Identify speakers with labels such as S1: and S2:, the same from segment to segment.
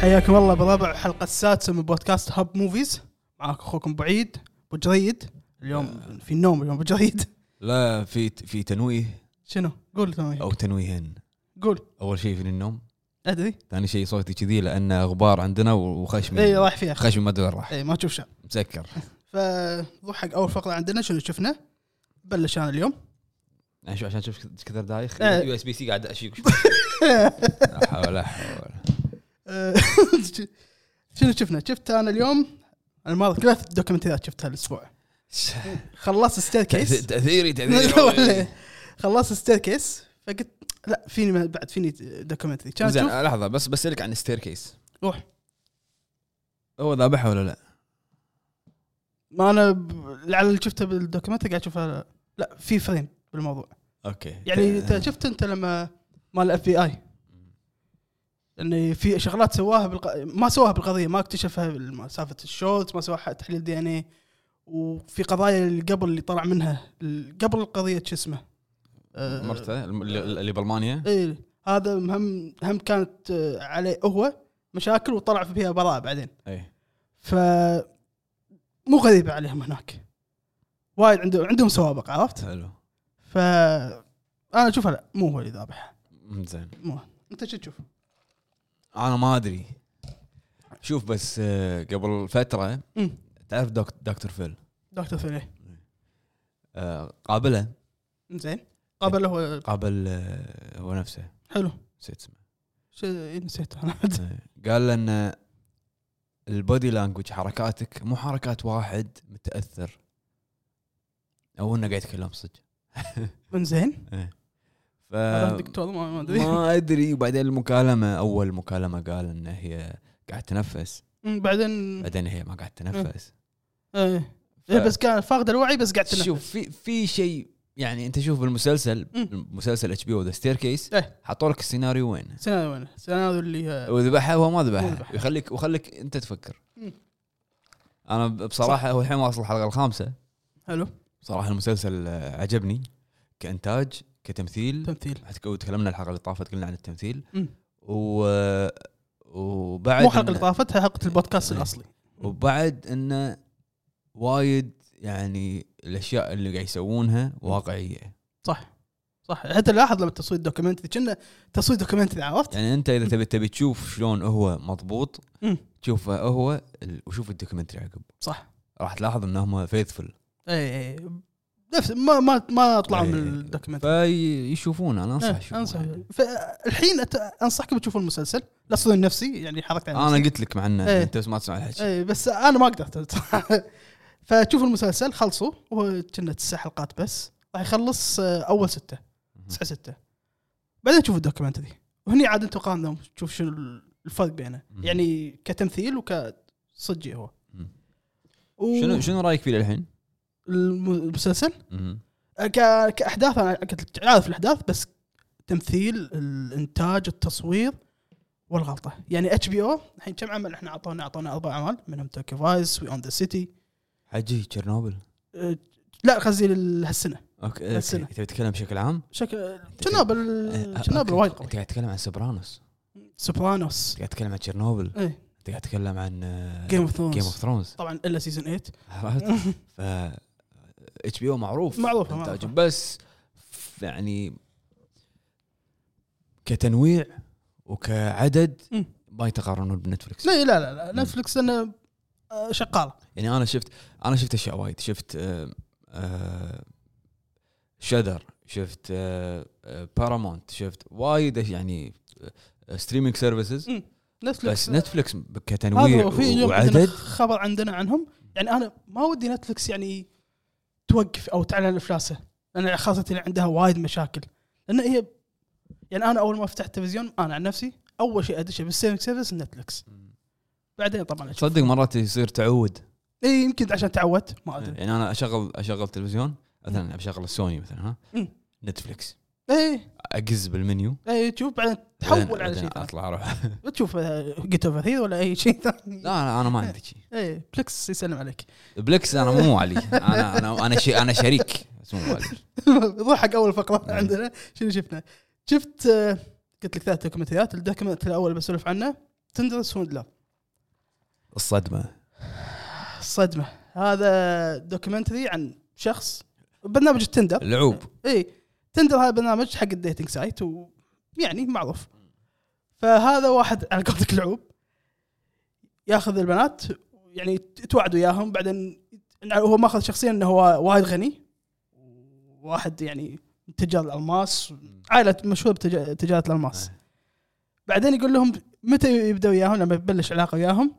S1: حياكم الله برابع حلقة السادسة من بودكاست هاب موفيز معاك اخوكم بعيد ابو جريد اليوم في النوم اليوم ابو جريد
S2: لا في في تنويه
S1: شنو؟ قول ثاني
S2: او تنويهين
S1: قول
S2: اول شيء في النوم
S1: ادري
S2: ثاني شيء صوتي كذي لان غبار عندنا وخشم
S1: اي راح فيها
S2: خشم ما ادري وين راح
S1: اي ما تشوف شيء
S2: مسكر
S1: فنروح حق اول فقرة عندنا شنو شفنا بلش انا اليوم
S2: أنا شو- عشان تشوف ايش كثر دايخ
S1: إيه.
S2: يو اس بي سي قاعد اشيك لا حول لا حول
S1: آه، شنو شفنا؟ شفت انا اليوم الماضي ثلاث دوكيومنتريات شفتها الاسبوع خلصت ستير كيس
S2: تأث- تاثيري
S1: ولا-
S2: تاثيري
S1: خلصت ستير كيس فقلت لا فيني ما- بعد فيني دوكيومنتري كان
S2: زين
S1: أشوف-
S2: آه، لحظه بس بسالك عن الستير كيس
S1: روح
S2: هو ذابحها ولا لا؟
S1: ما انا ب- على اللي شفته بالدوكيومنتري قاعد اشوفها لا في فريم بالموضوع
S2: اوكي
S1: يعني انت شفت انت لما مال الاف بي اي ان في شغلات سواها بالق... ما سواها بالقضيه ما اكتشفها بالم- سالفه الشولت ما سواها تحليل دي ان اي وفي قضايا اللي قبل اللي طلع منها ال- قبل القضيه شو اسمه آه،
S2: مرته الم- اللي اللي بالمانيا
S1: اي هذا هم هم كانت آه، عليه هو مشاكل وطلع فيها براءه بعدين
S2: اي
S1: ف مو غريبه عليهم هناك وايد عندهم عندهم سوابق عرفت
S2: حلو
S1: ف انا اشوفها لا مو هو اللي ذابحها
S2: مم، زين
S1: مو انت شو تشوف
S2: انا ما ادري شوف بس آه، قبل فتره
S1: أمم.
S2: تعرف دوك- دكتور فيل
S1: دكتور فيلي
S2: آه، قابله
S1: زين قابله هو
S2: قابل آه، هو نفسه
S1: حلو
S2: نسيت اسمه
S1: شو إيه، نسيت انا
S2: آه، قال له ان البودي لانجوج حركاتك مو حركات واحد متاثر او انه قاعد يتكلم صدق إيه.
S1: من زين
S2: ف
S1: هذا دكتور ما ما ادري
S2: آه، ما ادري وبعدين المكالمه اول مكالمه قال ان هي قاعد تنفس
S1: أمم، بعدين
S2: بعدين هي ما قاعد تنفس
S1: ايه
S2: ف-
S1: إيه، بس كان فاقد الوعي بس قاعد تنفس.
S2: شوف في في شيء يعني انت شوف بالمسلسل
S1: مم.
S2: مسلسل اتش بي او ذا ستير كيس
S1: إيه.
S2: حطوا لك السيناريو وين
S1: سيناريو وين سيناريو اللي آه،
S2: وذبحها هو ما
S1: مو
S2: ذبحها
S1: ذبحها.
S2: يخليك وخليك انت تفكر
S1: مم.
S2: انا ب- بصراحه هو الحين واصل الحلقه الخامسه
S1: حلو
S2: صراحه المسلسل آه، عجبني كانتاج كتمثيل
S1: تمثيل
S2: حتى تكلمنا الحلقه اللي طافت قلنا عن التمثيل
S1: مم.
S2: و آه، وبعد
S1: مو حلقه
S2: إن-
S1: اللي طافت حلقه البودكاست
S2: إيه.
S1: الاصلي
S2: وبعد انه وايد يعني الاشياء اللي قاعد يسوونها واقعيه
S1: صح حتى لاحظ لما تصوير دوكيومنتري كنا تصوير دوكيومنتري عرفت؟
S2: يعني انت اذا تبي تبي تشوف شلون هو مضبوط
S1: مم.
S2: شوفه هو ال- وشوف الدوكيومنتري عقب
S1: صح
S2: راح تلاحظ انهم فيثفل
S1: اي اي إيه، نفس ما ما ما طلعوا من
S2: إيه.
S1: الدوكيومنتري
S2: فيشونه انا انصح
S1: إيه،
S2: يشوفونه.
S1: انصح فالحين أت- انصحكم تشوفون المسلسل لا تصدمون نفسي يعني حركت على
S2: انا
S1: نفسي.
S2: قلت لك مع انه
S1: إيه.
S2: انت بس ما تسمع الحكي
S1: اي بس انا ما قدرت فشوفوا المسلسل خلصوا وهو كنا تسع حلقات بس راح يخلص آه، اول سته
S2: مهم.
S1: تسعة سته بعدين شوفوا الدوكيومنتري وهني عاد انتم قارنوا شوف شنو الفرق بينه
S2: مهم.
S1: يعني كتمثيل وكصجي هو
S2: مهم.
S1: و-
S2: شنو شنو رايك فيه للحين؟
S1: الم- المسلسل
S2: مهم.
S1: ك- كاحداث انا قلت لك عارف الاحداث بس تمثيل الانتاج التصوير والغلطه يعني اتش بي او الحين كم عمل احنا اعطونا اعطونا اربع اعمال منهم توكي فايس وي اون ذا سيتي
S2: حجي تشيرنوبل
S1: أه، لا قصدي لل- هالسنه
S2: اوكي
S1: بس
S2: أوكي. إيه،
S1: لا.
S2: تبي تتكلم بشكل عام؟ إيه،
S1: شكل تشيرنوبل إيه، تشيرنوبل
S2: أوكي.
S1: وايد قوي
S2: انت قاعد تتكلم عن سوبرانوس
S1: سوبرانوس
S2: انت قاعد تتكلم عن تشيرنوبل
S1: ايه
S2: انت قاعد تتكلم عن آه،
S1: جيم اوف
S2: جيم اوف
S1: ثرونز
S2: ثرونز
S1: طبعا الا سيزون 8
S2: عرفت؟ ف اتش بي او معروف
S1: معروفة،
S2: إنتاجه.
S1: معروفة.
S2: بس ف- يعني كتنويع وكعدد
S1: مم.
S2: ما يتقارنون بنتفلكس
S1: لا لا لا, لا. نتفلكس لانه آه، شغاله
S2: يعني انا شفت انا شفت اشياء وايد شفت آه، آه، شدر شفت بارامونت شفت وايد أش- يعني ستريمينج سيرفيسز
S1: نتفلكس
S2: بس نتفلكس كتنويع
S1: هذا في
S2: و-
S1: اليوم عندنا
S2: وعدد
S1: خبر عندنا عنهم يعني انا ما ودي نتفلكس يعني توقف او تعلن افلاسه لان خاصه اللي عندها وايد مشاكل لان هي يعني انا اول ما فتحت التلفزيون انا عن نفسي اول شيء ادشه بالستريمينج سيرفيس نتفلكس بعدين طبعا أشوف.
S2: تصدق مرات يصير تعود
S1: اي يمكن عشان تعودت ما ادري
S2: يعني انا اشغل اشغل تلفزيون مثلا بشغل السوني مثلا ها
S1: مم.
S2: نتفلكس
S1: اي
S2: اقز بالمنيو
S1: اي إيه، تشوف بعدين
S2: إيه. بعدين-
S1: تحول على
S2: بعدين
S1: شيء ثاني
S2: اطلع اروح لا
S1: تشوف آه، جيت اوفر هير ولا اي شيء ثاني
S2: لا انا ما عندي شيء
S1: اي بلكس يسلم عليك
S2: بلكس انا مو علي انا انا انا شي انا شريك بس مو علي
S1: نروح حق اول فقره عندنا شنو شفنا؟ شفت آه، قلت لك ثلاث دوكيومنتريات الدوكيومنت الاول بسولف عنه تندرس ولا لا
S2: الصدمه
S1: الصدمه هذا دوكيومنتري عن شخص برنامج التندر
S2: لعوب
S1: اي تندر هذا برنامج حق الديتنج سايت ويعني يعني معروف فهذا واحد على قولتك لعوب ياخذ البنات يعني توعد وياهم بعدين هو ماخذ شخصيا انه هو وايد غني واحد يعني تجار الالماس عائله مشهوره بتجاره بتجارة الالماس بعدين يقول لهم متى يبدا وياهم لما يبلش علاقه وياهم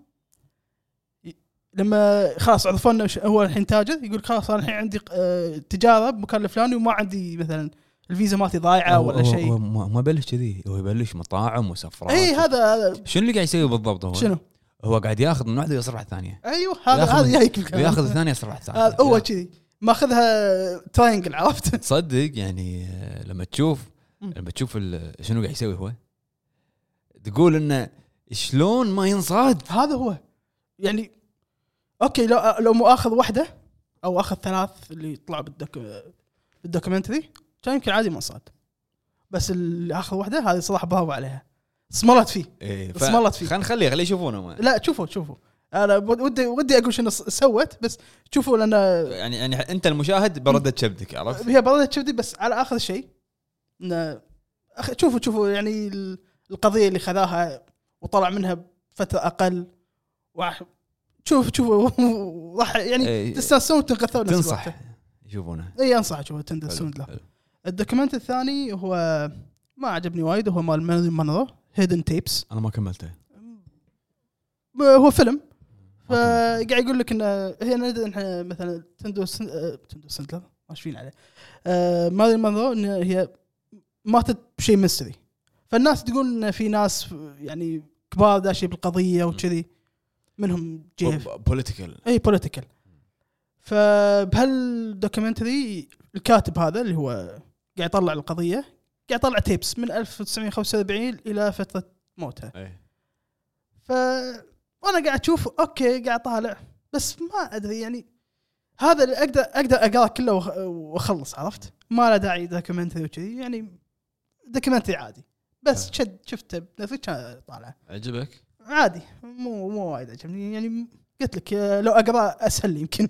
S1: ي- لما خلاص عرفوا انه ش- هو الحين تاجر يقول خلاص انا الحين عندي آه، تجاره بمكان الفلاني وما عندي مثلا الفيزا مالتي ضايعه
S2: هو-
S1: آه، ولا
S2: هو-
S1: شيء
S2: هو ما ما بلش كذي هو يبلش مطاعم وسفرات
S1: اي إيه، هذا هذا
S2: شنو اللي قاعد يسوي بالضبط هو؟
S1: شنو؟
S2: هو قاعد ياخذ من واحده ويصرف على الثانيه
S1: ايوه هذا
S2: ياخذ-
S1: هذا جايك بالكلام.
S2: وياخذ الثانيه يصرف على يعني الثانيه
S1: هذا هو كذي ماخذها تراينجل عرفت؟
S2: تصدق يعني آه، لما تشوف
S1: مم.
S2: لما تشوف ال- شنو قاعد يسوي هو تقول انه شلون ما ينصاد
S1: هذا هو يعني اوكي لو لو مو اخذ واحده او اخذ ثلاث اللي طلعوا بالدوك بالدوكيومنتري كان يمكن عادي ما صاد بس اللي اخذ واحده هذه صراحه برافو عليها استمرت فيه
S2: إيه، ف-
S1: اصملت فيه.
S2: خلينا نخليه خليه يشوفونه ما-
S1: لا شوفوا شوفوا انا ود- ودي ودي اقول شنو س- سوت بس شوفوا لان
S2: يعني يعني انت المشاهد بردت شبدك عرفت؟
S1: هي بردت شفتي بس على اخر شيء إنه أخ- شوفوا شوفوا يعني ال- القضيه اللي خذاها وطلع منها بفتره اقل وح- شوف شوفوا راح يعني
S2: إيه.
S1: تستانسون وتنقذون نفس
S2: تنصح
S1: الوقت.
S2: يشوفونه
S1: اي انصح شوف تندر
S2: حلو،
S1: سوند له
S2: حلو.
S1: الدوكيمنت الثاني هو ما عجبني وايد هو مال مارلين مونرو هيدن تيبس
S2: انا ما كملته
S1: هو فيلم
S2: ما كملته.
S1: فقاعد يقول لك انه هي ندري احنا مثلا تندو سن... آه، تندو سندلر ماشيين عليه آه، مارلين مونرو ان هي ماتت بشيء ميستري فالناس تقول ان في ناس يعني كبار داشين بالقضيه وكذي منهم جيف
S2: ب- بوليتيكال
S1: اي بوليتيكال فبهالدوكيومنتري الكاتب هذا اللي هو قاعد يطلع القضيه قاعد يطلع تيبس من 1975 الى فتره موتها
S2: إيه.
S1: ف وانا قاعد اشوف اوكي قاعد طالع بس ما ادري يعني هذا اللي اقدر اقدر اقراه كله وأخ- واخلص عرفت؟ ما له داعي دوكيومنتري وكذي يعني دوكيومنتري عادي بس
S2: آه.
S1: شد شفته بنفسي كان طالع
S2: عجبك؟
S1: عادي مو مو وايد عجبني يعني قلت لك آه، لو اقرا اسهل لي يمكن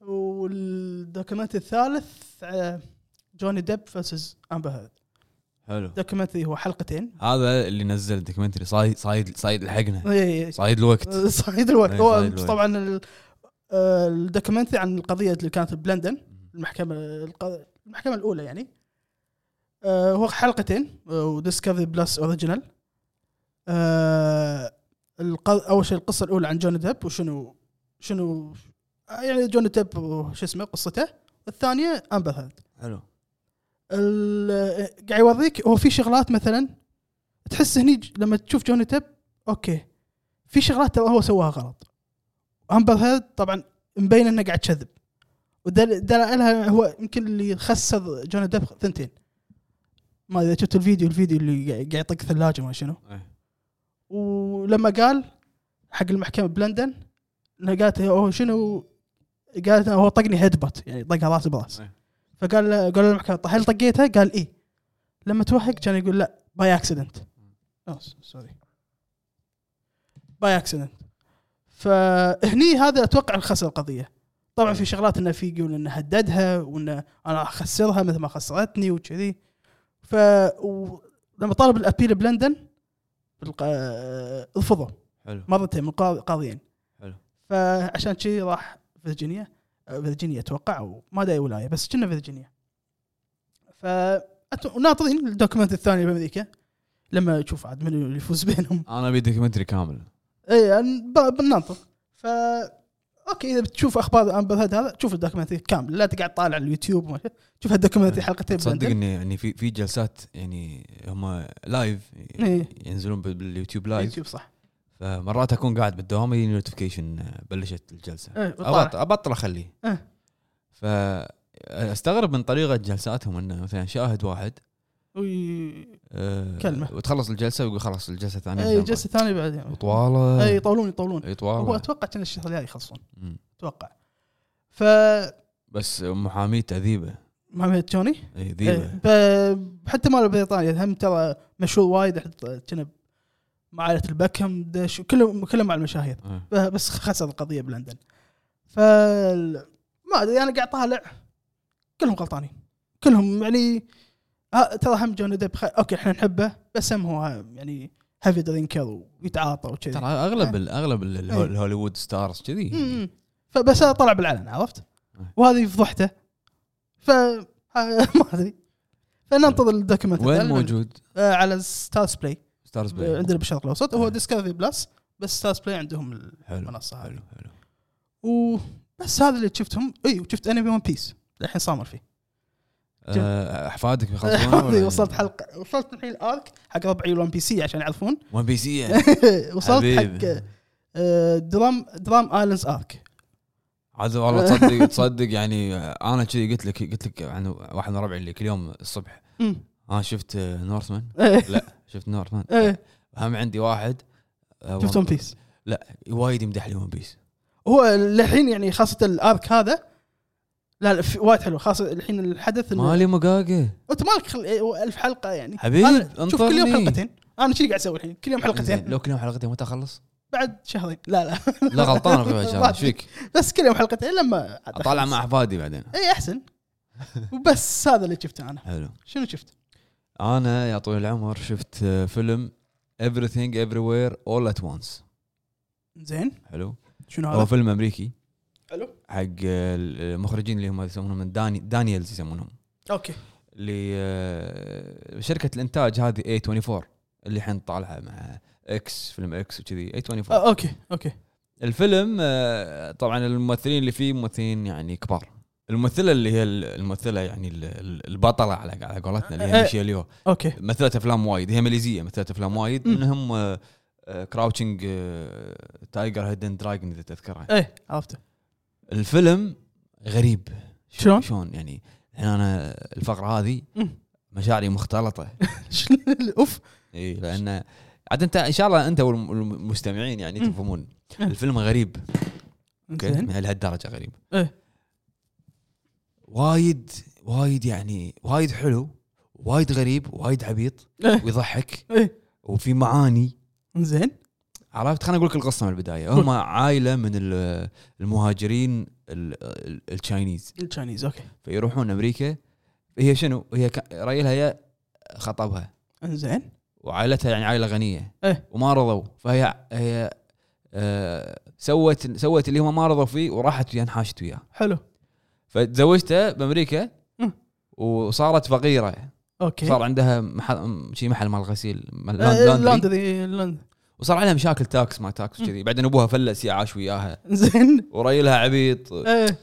S1: والدوكيومنت الثالث آه، جوني ديب فيرسز امبر هيرد
S2: حلو
S1: دوكيومنتري هو حلقتين
S2: هذا اللي نزل دوكيومنتري صايد صايد صايد لحقنا
S1: إي، إي،
S2: صايد الوقت
S1: آه، صعيد الوقت
S2: إي،
S1: هو
S2: صعيد الوقت.
S1: طبعا ال- آه، الدوكيومنتري عن القضيه اللي كانت بلندن المحكمه الق- المحكمه الاولى يعني آه، هو حلقتين آه، وديسكفري بلس اوريجينال اول آه، شيء القصه الاولى عن جوني ديب وشنو شنو آه، يعني جوني ديب وش اسمه قصته الثانيه امبر هيرد
S2: حلو
S1: ال- قاعد يوريك هو في شغلات مثلا تحس هني ج- لما تشوف جوني تب اوكي في شغلات ترى هو سواها غلط امبر هيرد طبعا مبين انه قاعد كذب ودلالها هو يمكن اللي خسر جوني ديب ثنتين ما اذا شفت الفيديو الفيديو اللي قاعد قاعد يطق ثلاجه ما شنو
S2: إيه.
S1: ولما قال حق المحكمه بلندن انها قالت هو شنو قالت هو طقني هيدبت يعني طقها راس براس
S2: إيه.
S1: فقال قال له المحكمه "طيب هل طقيتها؟ قال اي لما توهق كان يقول لا Oh, باي اكسيدنت سوري باي اكسيدنت فهني هذا اتوقع الخسر القضيه طبعا في شغلات انه في يقول انه هددها وانه انا اخسرها مثل ما خسرتني وكذي ف ولما طالب الابيل بلندن بالق- آه، رفضوا
S2: حلو
S1: مرتين من قاض- قاضيين
S2: حلو.
S1: فعشان شي راح فيرجينيا آه، فيرجينيا اتوقع او ما ادري أي ولايه بس كنا فيرجينيا ف أت- ناطرين الدوكيمنت الثاني بامريكا لما نشوف عاد منو اللي يفوز بينهم
S2: انا ابي دوكيومنتري كامل
S1: اي يعني ب- بننطر ف اوكي اذا بتشوف اخبار امبر هيد هذا شوف الدوكيومنتري كامل لا تقعد طالع على اليوتيوب وما- شوف الدوكيومنتري حلقتين
S2: تصدق
S1: بلندن.
S2: اني اني في في جلسات يعني هم لايف
S1: إيه.
S2: ينزلون بال- باليوتيوب لايف
S1: اليوتيوب صح
S2: فمرات اكون قاعد بالدوام يجيني نوتيفيكيشن بلشت الجلسه
S1: إيه، وطالع.
S2: ابطل ابطل اخليه
S1: إيه.
S2: فاستغرب من طريقه جلساتهم انه مثلا شاهد واحد
S1: وي-
S2: آه،
S1: كلمة.
S2: وتخلص الجلسه ويقول خلاص الجلسه الثانيه
S1: اي جلسه ثانيه بعدين
S2: طواله
S1: اي يطولون يطولون
S2: اي
S1: هو
S2: طواله
S1: اتوقع كان الشهر الجاي يخلصون
S2: مم.
S1: اتوقع ف
S2: بس محاميته ذيبه
S1: محمد توني
S2: اي ذيبه
S1: إيه، ب- حتى مال بريطانيا هم ترى مشهور وايد حتى كنا مع عائله البكم دش كلهم كلهم مع المشاهير
S2: آه.
S1: ب- بس خسر القضيه بلندن فال ما ادري انا قاعد طالع كلهم غلطانين كلهم يعني آه، ترى هم جوني ديب خ... اوكي احنا نحبه بس هم هو يعني هافي درينكر ويتعاطى وكذي
S2: ترى اغلب ال- اغلب ال- الهو-
S1: إيه.
S2: الهوليوود ستارز كذي
S1: مم. فبس أنا طلع بالعلن عرفت؟
S2: أي.
S1: وهذه فضحته ف ما ادري فننتظر الدوكيمنت
S2: طيب. وين
S1: الأعلن.
S2: موجود
S1: آه، على ستارز بلاي
S2: ستارز بلاي
S1: إيه، عندنا بالشرق الاوسط هو
S2: أي.
S1: ديسكفري بلس بس ستارز بلاي عندهم
S2: إيه. حلو
S1: المنصه هذه
S2: حلو حلو
S1: وبس هذا اللي شفتهم اي وشفت انمي ون بيس الحين صامر فيه
S2: آه، احفادك
S1: هذه
S2: بيخلصون
S1: وصلت حلقه وصلت الحين الارك حق ربعي ون بي سي عشان يعرفون
S2: ون بي سي
S1: وصلت
S2: إيه. حبيبي.
S1: حق آه، درام درام ايلاندز ارك
S2: عاد والله تصدق تصدق يعني انا كذي قلت لك قلت لك عن واحد من ربعي اللي كل يوم الصبح
S1: مم.
S2: ها شفت آه، نورثمان
S1: إيه.
S2: شفت نورثمان
S1: إيه.
S2: هم عندي واحد آه،
S1: شفت ون بيس
S2: وايد يمدح لي ون بيس
S1: هو الحين يعني خاصه الارك هذا لا لا في- وايد حلو خاصه الحين الحدث انه
S2: مالي إيه، مقاقه
S1: انت مالك خل... ألف حلقه يعني
S2: حبيب،
S1: أنا شوف كل يوم
S2: انطرني.
S1: حلقتين انا شي قاعد اسوي الحين كل يوم
S2: زين،
S1: حلقتين
S2: إيه، لو كل يوم حلقتين متى اخلص؟
S1: بعد شهرين لا لا
S2: لا غلطان اخوي هشام، ايش فيك؟
S1: بس كل يوم حلقتين لما عاد
S2: اطالع
S1: أخلص.
S2: مع احفادي بعدين
S1: اي احسن وبس هذا اللي شفته انا
S2: حلو
S1: شنو شفت؟
S2: انا يا طويل العمر شفت آه، فيلم everything everywhere all at once
S1: زين
S2: حلو
S1: شنو
S2: هو
S1: هذا؟
S2: فيلم امريكي
S1: حلو
S2: حق آه، المخرجين اللي هم يسمونهم من داني دانييلز يسمونهم
S1: اوكي
S2: لشركه الانتاج هذه اي 24 اللي الحين طالعه مع اكس فيلم اكس وكذي اي 24
S1: آه اوكي اوكي
S2: الفيلم آه، طبعا الممثلين اللي فيه ممثلين يعني كبار الممثله اللي هي ال- الممثله يعني ال- ال- البطله على على قولتنا اللي
S1: آه.
S2: هي ميشيل يو
S1: اوكي
S2: مثلت افلام وايد هي ماليزيه مثلت افلام وايد آه،
S1: مم.
S2: منهم كراوتشنج آه، تايجر هيدن دراجون اذا تذكرها
S1: ايه عرفته
S2: الفيلم غريب
S1: شلون؟
S2: شلون يعني الحين انا الفقره هذه
S1: مم.
S2: مشاعري مختلطه
S1: شل- اوف
S2: اي لان عاد انت ان شاء الله انت والمستمعين يعني
S1: مم.
S2: تفهمون
S1: مم.
S2: الفيلم غريب اوكي
S1: زين
S2: من هالدرجه غريب
S1: إيه.
S2: وايد وايد يعني وايد حلو وايد غريب وايد عبيط
S1: إيه.
S2: ويضحك
S1: إيه.
S2: وفي معاني
S1: زين
S2: عرفت خليني اقول لك القصه من البدايه هم عائله من ال- المهاجرين ال- ال- التشاينيز
S1: التشاينيز اوكي
S2: فيروحون امريكا هي شنو هي ك- ريلها يا خطبها
S1: زين
S2: وعائلتها يعني عائله غنيه
S1: إيه.
S2: وما رضوا فهي هي آه سوت سوت اللي هم ما رضوا فيه وراحت وياه انحاشت وياه
S1: حلو
S2: فتزوجته بامريكا
S1: مم. إيه.
S2: وصارت فقيره
S1: اوكي
S2: صار عندها محل شي محل مال غسيل مال
S1: آه،
S2: لاند- لاندري
S1: لاندري لاندري
S2: وصار عليها مشاكل تاكس ما تاكس
S1: مم.
S2: كذي بعدين ابوها فلس يا عاش وياها
S1: زين
S2: وريلها عبيط
S1: ايه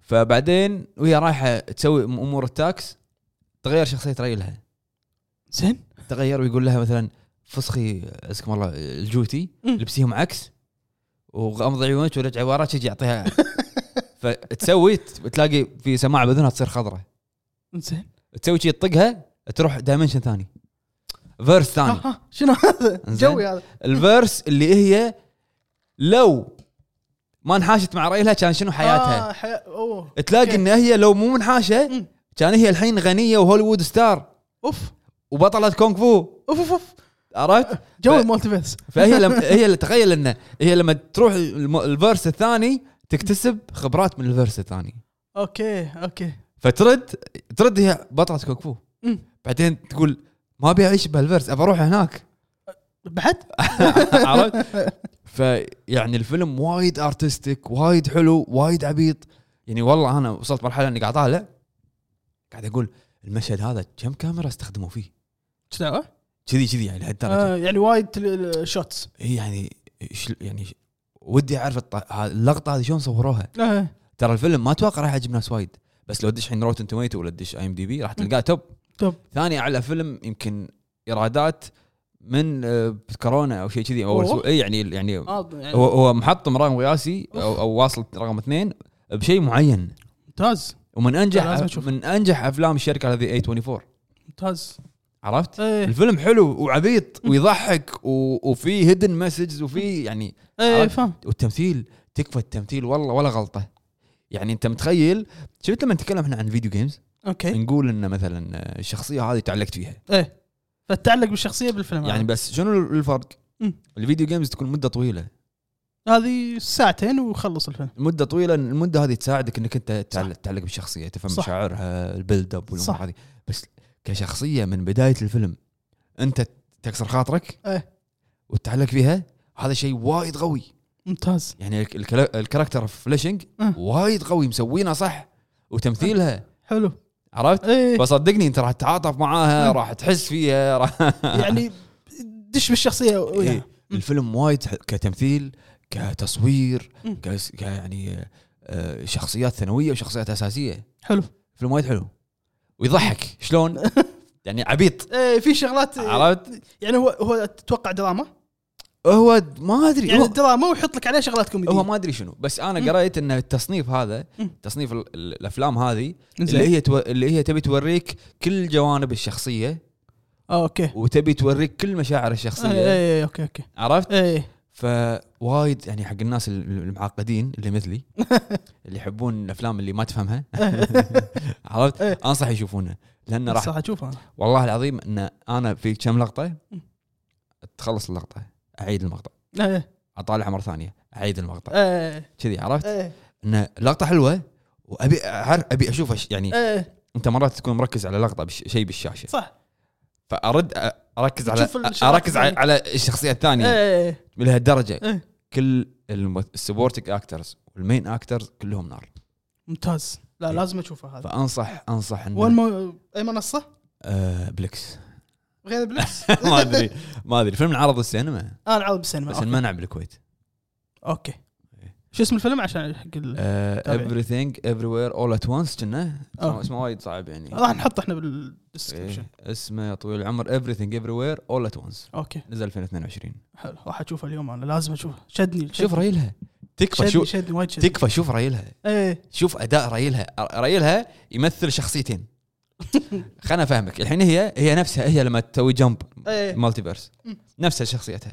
S2: فبعدين وهي رايحه تسوي امور التاكس تغير شخصيه ريلها
S1: زين
S2: تغير ويقول لها مثلا فسخي اسكم الله الجوتي
S1: مم.
S2: لبسيهم عكس وغمض عيونك ورجع وراك يجي يعطيها فتسوي ت- تلاقي في سماعه باذنها تصير خضراء
S1: زين
S2: تسوي شي تطقها تروح دايمنشن ثاني فيرس ثاني
S1: ها- ها، آه، شنو هذا؟
S2: إنزين.
S1: جوي هذا
S2: الفيرس اللي هي لو ما انحاشت مع ريلها كان شنو حياتها
S1: آه حياة اوه
S2: تلاقي
S1: أوكي.
S2: ان هي لو مو منحاشه
S1: مم.
S2: كان هي الحين غنيه وهوليوود ستار
S1: اوف
S2: وبطله كونغ فو
S1: اوف اوف, أوف.
S2: عرفت
S1: جو
S2: ف-
S1: المالتيفيرس
S2: فهي لما هي اللي تخيل انه هي لما تروح الم- الفيرس الثاني تكتسب خبرات من الفيرس الثاني
S1: اوكي اوكي
S2: فترد ترد هي بطله كونغ فو
S1: مم.
S2: بعدين تقول ما ابي اعيش بهالفيرس ابى اروح هناك
S1: بعد
S2: عرفت؟ فيعني الفيلم وايد ارتستيك وايد حلو وايد عبيط يعني والله انا وصلت مرحله اني قاعد اطالع قاعد اقول المشهد هذا كم كاميرا استخدموا فيه؟
S1: إيش دعوه؟
S2: كذي كذي يعني لهالدرجه
S1: آه، يعني وايد تل- الشوتس
S2: هي يعني شل- يعني ش- ودي اعرف الط- ها- اللقطه هذه شلون صوروها
S1: آه.
S2: ترى الفيلم ما اتوقع راح يعجب ناس وايد بس لو تدش الحين روتن توميتو ولا تدش اي ام دي بي راح تلقاه توب
S1: توب.
S2: ثاني اعلى فيلم يمكن ايرادات من آه، كورونا او شيء كذي اول
S1: أوه.
S2: سو... إيه يعني يعني
S1: آه، يعني
S2: هو هو محطم رقم قياسي او او واصل رقم اثنين بشيء معين
S1: ممتاز
S2: ومن
S1: لا، لازم
S2: انجح
S1: أشوفه.
S2: من انجح افلام الشركه هذه اي 24
S1: ممتاز
S2: عرفت؟
S1: ايه
S2: الفيلم حلو وعبيط ويضحك و... وفي هيدن مسجز وفي يعني
S1: ايه
S2: عرفت؟
S1: فاهم
S2: والتمثيل تكفى التمثيل والله ولا غلطه يعني انت متخيل شفت لما نتكلم احنا عن فيديو جيمز
S1: اوكي
S2: نقول ان مثلا الشخصيه هذه تعلقت فيها
S1: ايه فتعلق بالشخصيه بالفيلم
S2: يعني
S1: هذا.
S2: بس شنو الفرق
S1: مم.
S2: الفيديو جيمز تكون مده طويله
S1: هذه ساعتين وخلص الفيلم
S2: المده طويله المده هذه تساعدك انك انت تعلق, تعلق بالشخصيه تفهم
S1: صح.
S2: مشاعرها البيلد اب
S1: صح.
S2: والامور هذه بس كشخصيه من بدايه الفيلم انت تكسر خاطرك
S1: إيه.
S2: وتتعلق فيها هذا شيء وايد قوي
S1: ممتاز
S2: يعني الك- الكلا- الكاركتر في فليشنج
S1: أه.
S2: وايد قوي مسوينه صح وتمثيلها
S1: حلو
S2: عرفت
S1: ايه
S2: فصدقني انت راح تتعاطف معاها
S1: أه.
S2: راح تحس فيها راح
S1: يعني دش بالشخصيه وياها.
S2: إيه. الفيلم وايد ح- كتمثيل كتصوير
S1: مم.
S2: كس- ك يعني آه، آه، شخصيات ثانويه وشخصيات اساسيه
S1: حلو
S2: فيلم وايد حلو ويضحك شلون يعني عبيط
S1: ايه في شغلات
S2: عرفت
S1: يعني هو هو تتوقع دراما
S2: هو ما ادري
S1: يعني
S2: إيه، هو,
S1: دراما ويحط لك عليها شغلات كوميدية
S2: هو ما ادري شنو بس
S1: مم.
S2: انا قريت ان التصنيف هذا
S1: مم.
S2: تصنيف ال- ال- الافلام هذه
S1: زين.
S2: اللي هي تو... اللي هي تبي توريك كل جوانب الشخصيه
S1: آه، اوكي
S2: وتبي توريك كل مشاعر الشخصيه
S1: ايه اوكي اوكي
S2: عرفت
S1: ايه
S2: فوايد يعني حق الناس ال- المعقدين اللي مثلي اللي يحبون الافلام اللي ما تفهمها عرفت
S1: إيه.
S2: انصح يشوفونها لان راح
S1: صح اشوفها انا
S2: والله العظيم ان انا في كم لقطه
S1: م.
S2: تخلص اللقطه اعيد المقطع طيب.
S1: ايه
S2: اطالعها مره ثانيه اعيد المقطع
S1: ايه
S2: كذي عرفت
S1: ايه
S2: ان لقطه حلوه وابي أعر- ابي اشوفها ش- يعني
S1: ايه
S2: انت مرات تكون مركز على لقطه بش شيء بالشاشه
S1: صح
S2: فارد أ- اركز على
S1: تشوف
S2: أ-
S1: الشغلات
S2: اركز على,
S1: الثانية.
S2: على الشخصيه الثانيه
S1: ايه
S2: لهالدرجه
S1: إيه.
S2: كل السبورتنج اكترز والمين اكترز كلهم نار
S1: ممتاز لا
S2: إيه.
S1: لازم اشوفها هذا
S2: فانصح انصح
S1: وين
S2: انه
S1: مو... اي منصه
S2: آه بلكس
S1: غير بلكس
S2: ما ادري ما ادري فيلم عرض السينما
S1: انا عرض بالسينما
S2: بس
S1: أوكي.
S2: انمنع بالكويت
S1: اوكي
S2: إيه.
S1: شو اسم الفيلم عشان حق ال... تابعي.
S2: آه، everything everywhere all at once كنا
S1: آه.
S2: اسمه وايد صعب يعني
S1: راح نحطه احنا بالدسكربشن
S2: إيه، اسمه يا طويل العمر everything everywhere all at once
S1: اوكي
S2: نزل 2022
S1: حلو راح اشوفه اليوم انا لازم اشوفه شدني
S2: شوف
S1: شدني-
S2: ريلها تكفى
S1: شدني
S2: شوف
S1: شدني وايد شدني
S2: تكفى شوف ريلها
S1: ايه
S2: شوف اداء ريلها ريلها يمثل شخصيتين خلنا افهمك الحين هي هي نفسها هي لما تسوي جمب
S1: إيه.
S2: مالتيفيرس
S1: مم.
S2: نفسها شخصيتها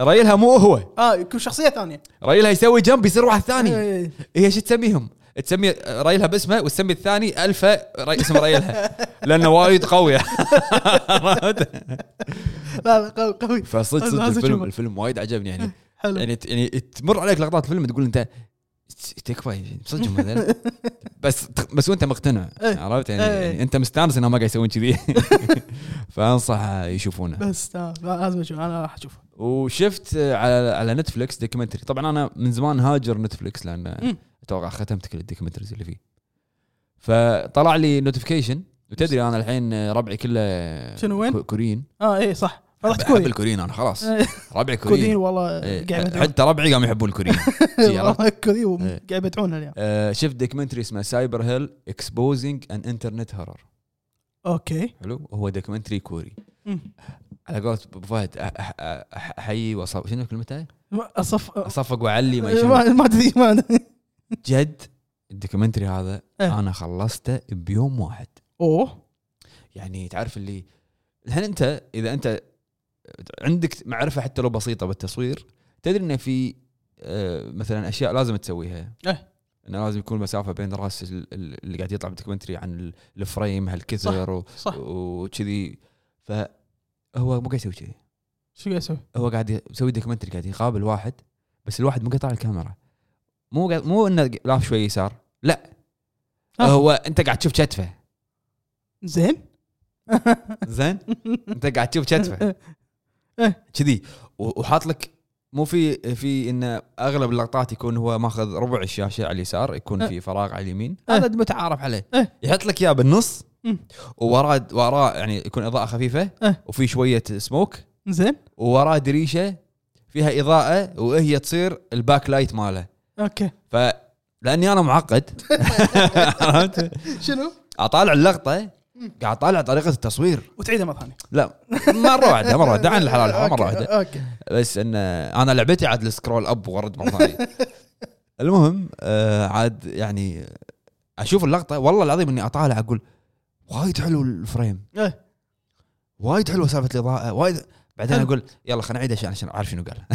S2: ريلها مو هو
S1: اه يكون شخصيه ثانيه
S2: ريلها يسوي جمب يصير واحد ثاني
S1: إيه.
S2: هي شو تسميهم؟ تسمي ريلها باسمه وتسمي الثاني الفا ري... اسم ريلها
S1: إيه.
S2: لانه وايد قوي عرفت؟
S1: لا لا، قوي قوي
S2: فصدق
S1: لازم
S2: صدق الفيلم
S1: أشوفه.
S2: الفيلم وايد عجبني يعني
S1: حلو
S2: يعني يعني تمر عليك لقطات الفيلم تقول انت تكفى صدق هم هذول. بس بس وانت مقتنع
S1: إيه.
S2: عرفت يعني,
S1: إيه.
S2: يعني انت مستانس انهم ما قاعد يسوون كذي فانصح يشوفونه
S1: بس تمام لا، لازم اشوف انا راح اشوفه
S2: وشفت على على نتفلكس دوكيومنتري طبعا انا من زمان هاجر نتفلكس لان
S1: مم.
S2: اتوقع ختمت كل الدوكيومنتريز اللي فيه فطلع لي نوتيفيكيشن وتدري انا الحين ربعي كله
S1: شنو وين؟
S2: كو- كوريين
S1: اه ايه صح رحت
S2: احب
S1: كوري
S2: الكوريين انا خلاص
S1: إيه.
S2: ربعي
S1: كوريين
S2: كوريين
S1: والله
S2: إيه،
S1: قاعد يبدعون.
S2: حتى ربعي قام يحبون الكوريين زي عرفت؟
S1: والله كوري وم-
S2: إيه.
S1: قاعد يبدعونها اليوم
S2: آه، شفت دوكيومنتري اسمه سايبر هيل اكسبوزنج ان انترنت هرر
S1: اوكي
S2: حلو هو دوكيومنتري كوري
S1: مم.
S2: على قولة ابو فهد أح- أح- أح- احيي واصف شنو كلمته؟
S1: ما- اصف
S2: اصفق واعلي ما شنو.
S1: ما ما تدري ما أدري.
S2: جد الدوكيومنتري هذا
S1: إيه.
S2: انا خلصته بيوم واحد
S1: اوه
S2: يعني تعرف اللي الحين انت اذا انت عندك معرفه حتى لو بسيطه بالتصوير تدري انه في آه، مثلا اشياء لازم تسويها
S1: إيه.
S2: انه لازم يكون مسافه بين راس ال- ال- اللي قاعد يطلع بالدوكيومنتري عن ال- الفريم هالكثر و-
S1: صح
S2: وكذي فهو مو قاعد يسوي كذي
S1: شو قاعد يسوي؟
S2: هو قاعد يسوي دوكيومنتري قاعد يقابل واحد بس الواحد مو قاطع الكاميرا مو قاعد مو انه لاف شوي يسار لا
S1: آه.
S2: هو انت قاعد تشوف كتفه
S1: زين
S2: زين انت قاعد تشوف كتفه كذي و- وحاط لك مو في في ان اغلب اللقطات يكون هو ماخذ ربع الشاشه على اليسار يكون في فراغ على اليمين
S1: اه.
S2: هذا متعارف عليه
S1: اه.
S2: يحط لك اياه بالنص
S1: مم.
S2: ووراه وراه يعني يكون اضاءه خفيفه
S1: اه.
S2: وفي شويه سموك
S1: زين
S2: ووراه دريشه فيها اضاءه وهي تصير الباك لايت ماله
S1: اوكي
S2: ف لاني انا معقد عرفت؟
S1: شنو؟
S2: اطالع اللقطه قاعد اطالع طريقه التصوير
S1: وتعيدها مره ثانيه
S2: لا مره واحده مره واحده عن الحلال الحرام، مره
S1: أوكي،
S2: واحده
S1: اوكي
S2: بس ان انا لعبتي عاد السكرول اب وارد مره ثانيه المهم آه عاد يعني اشوف اللقطه والله العظيم اني اطالع اقول وايد حلو الفريم
S1: إيه.
S2: وايد حلوه سالفه الاضاءه وايد بعدين
S1: حلو.
S2: اقول يلا خلينا نعيد عشان عشان اعرف شنو قال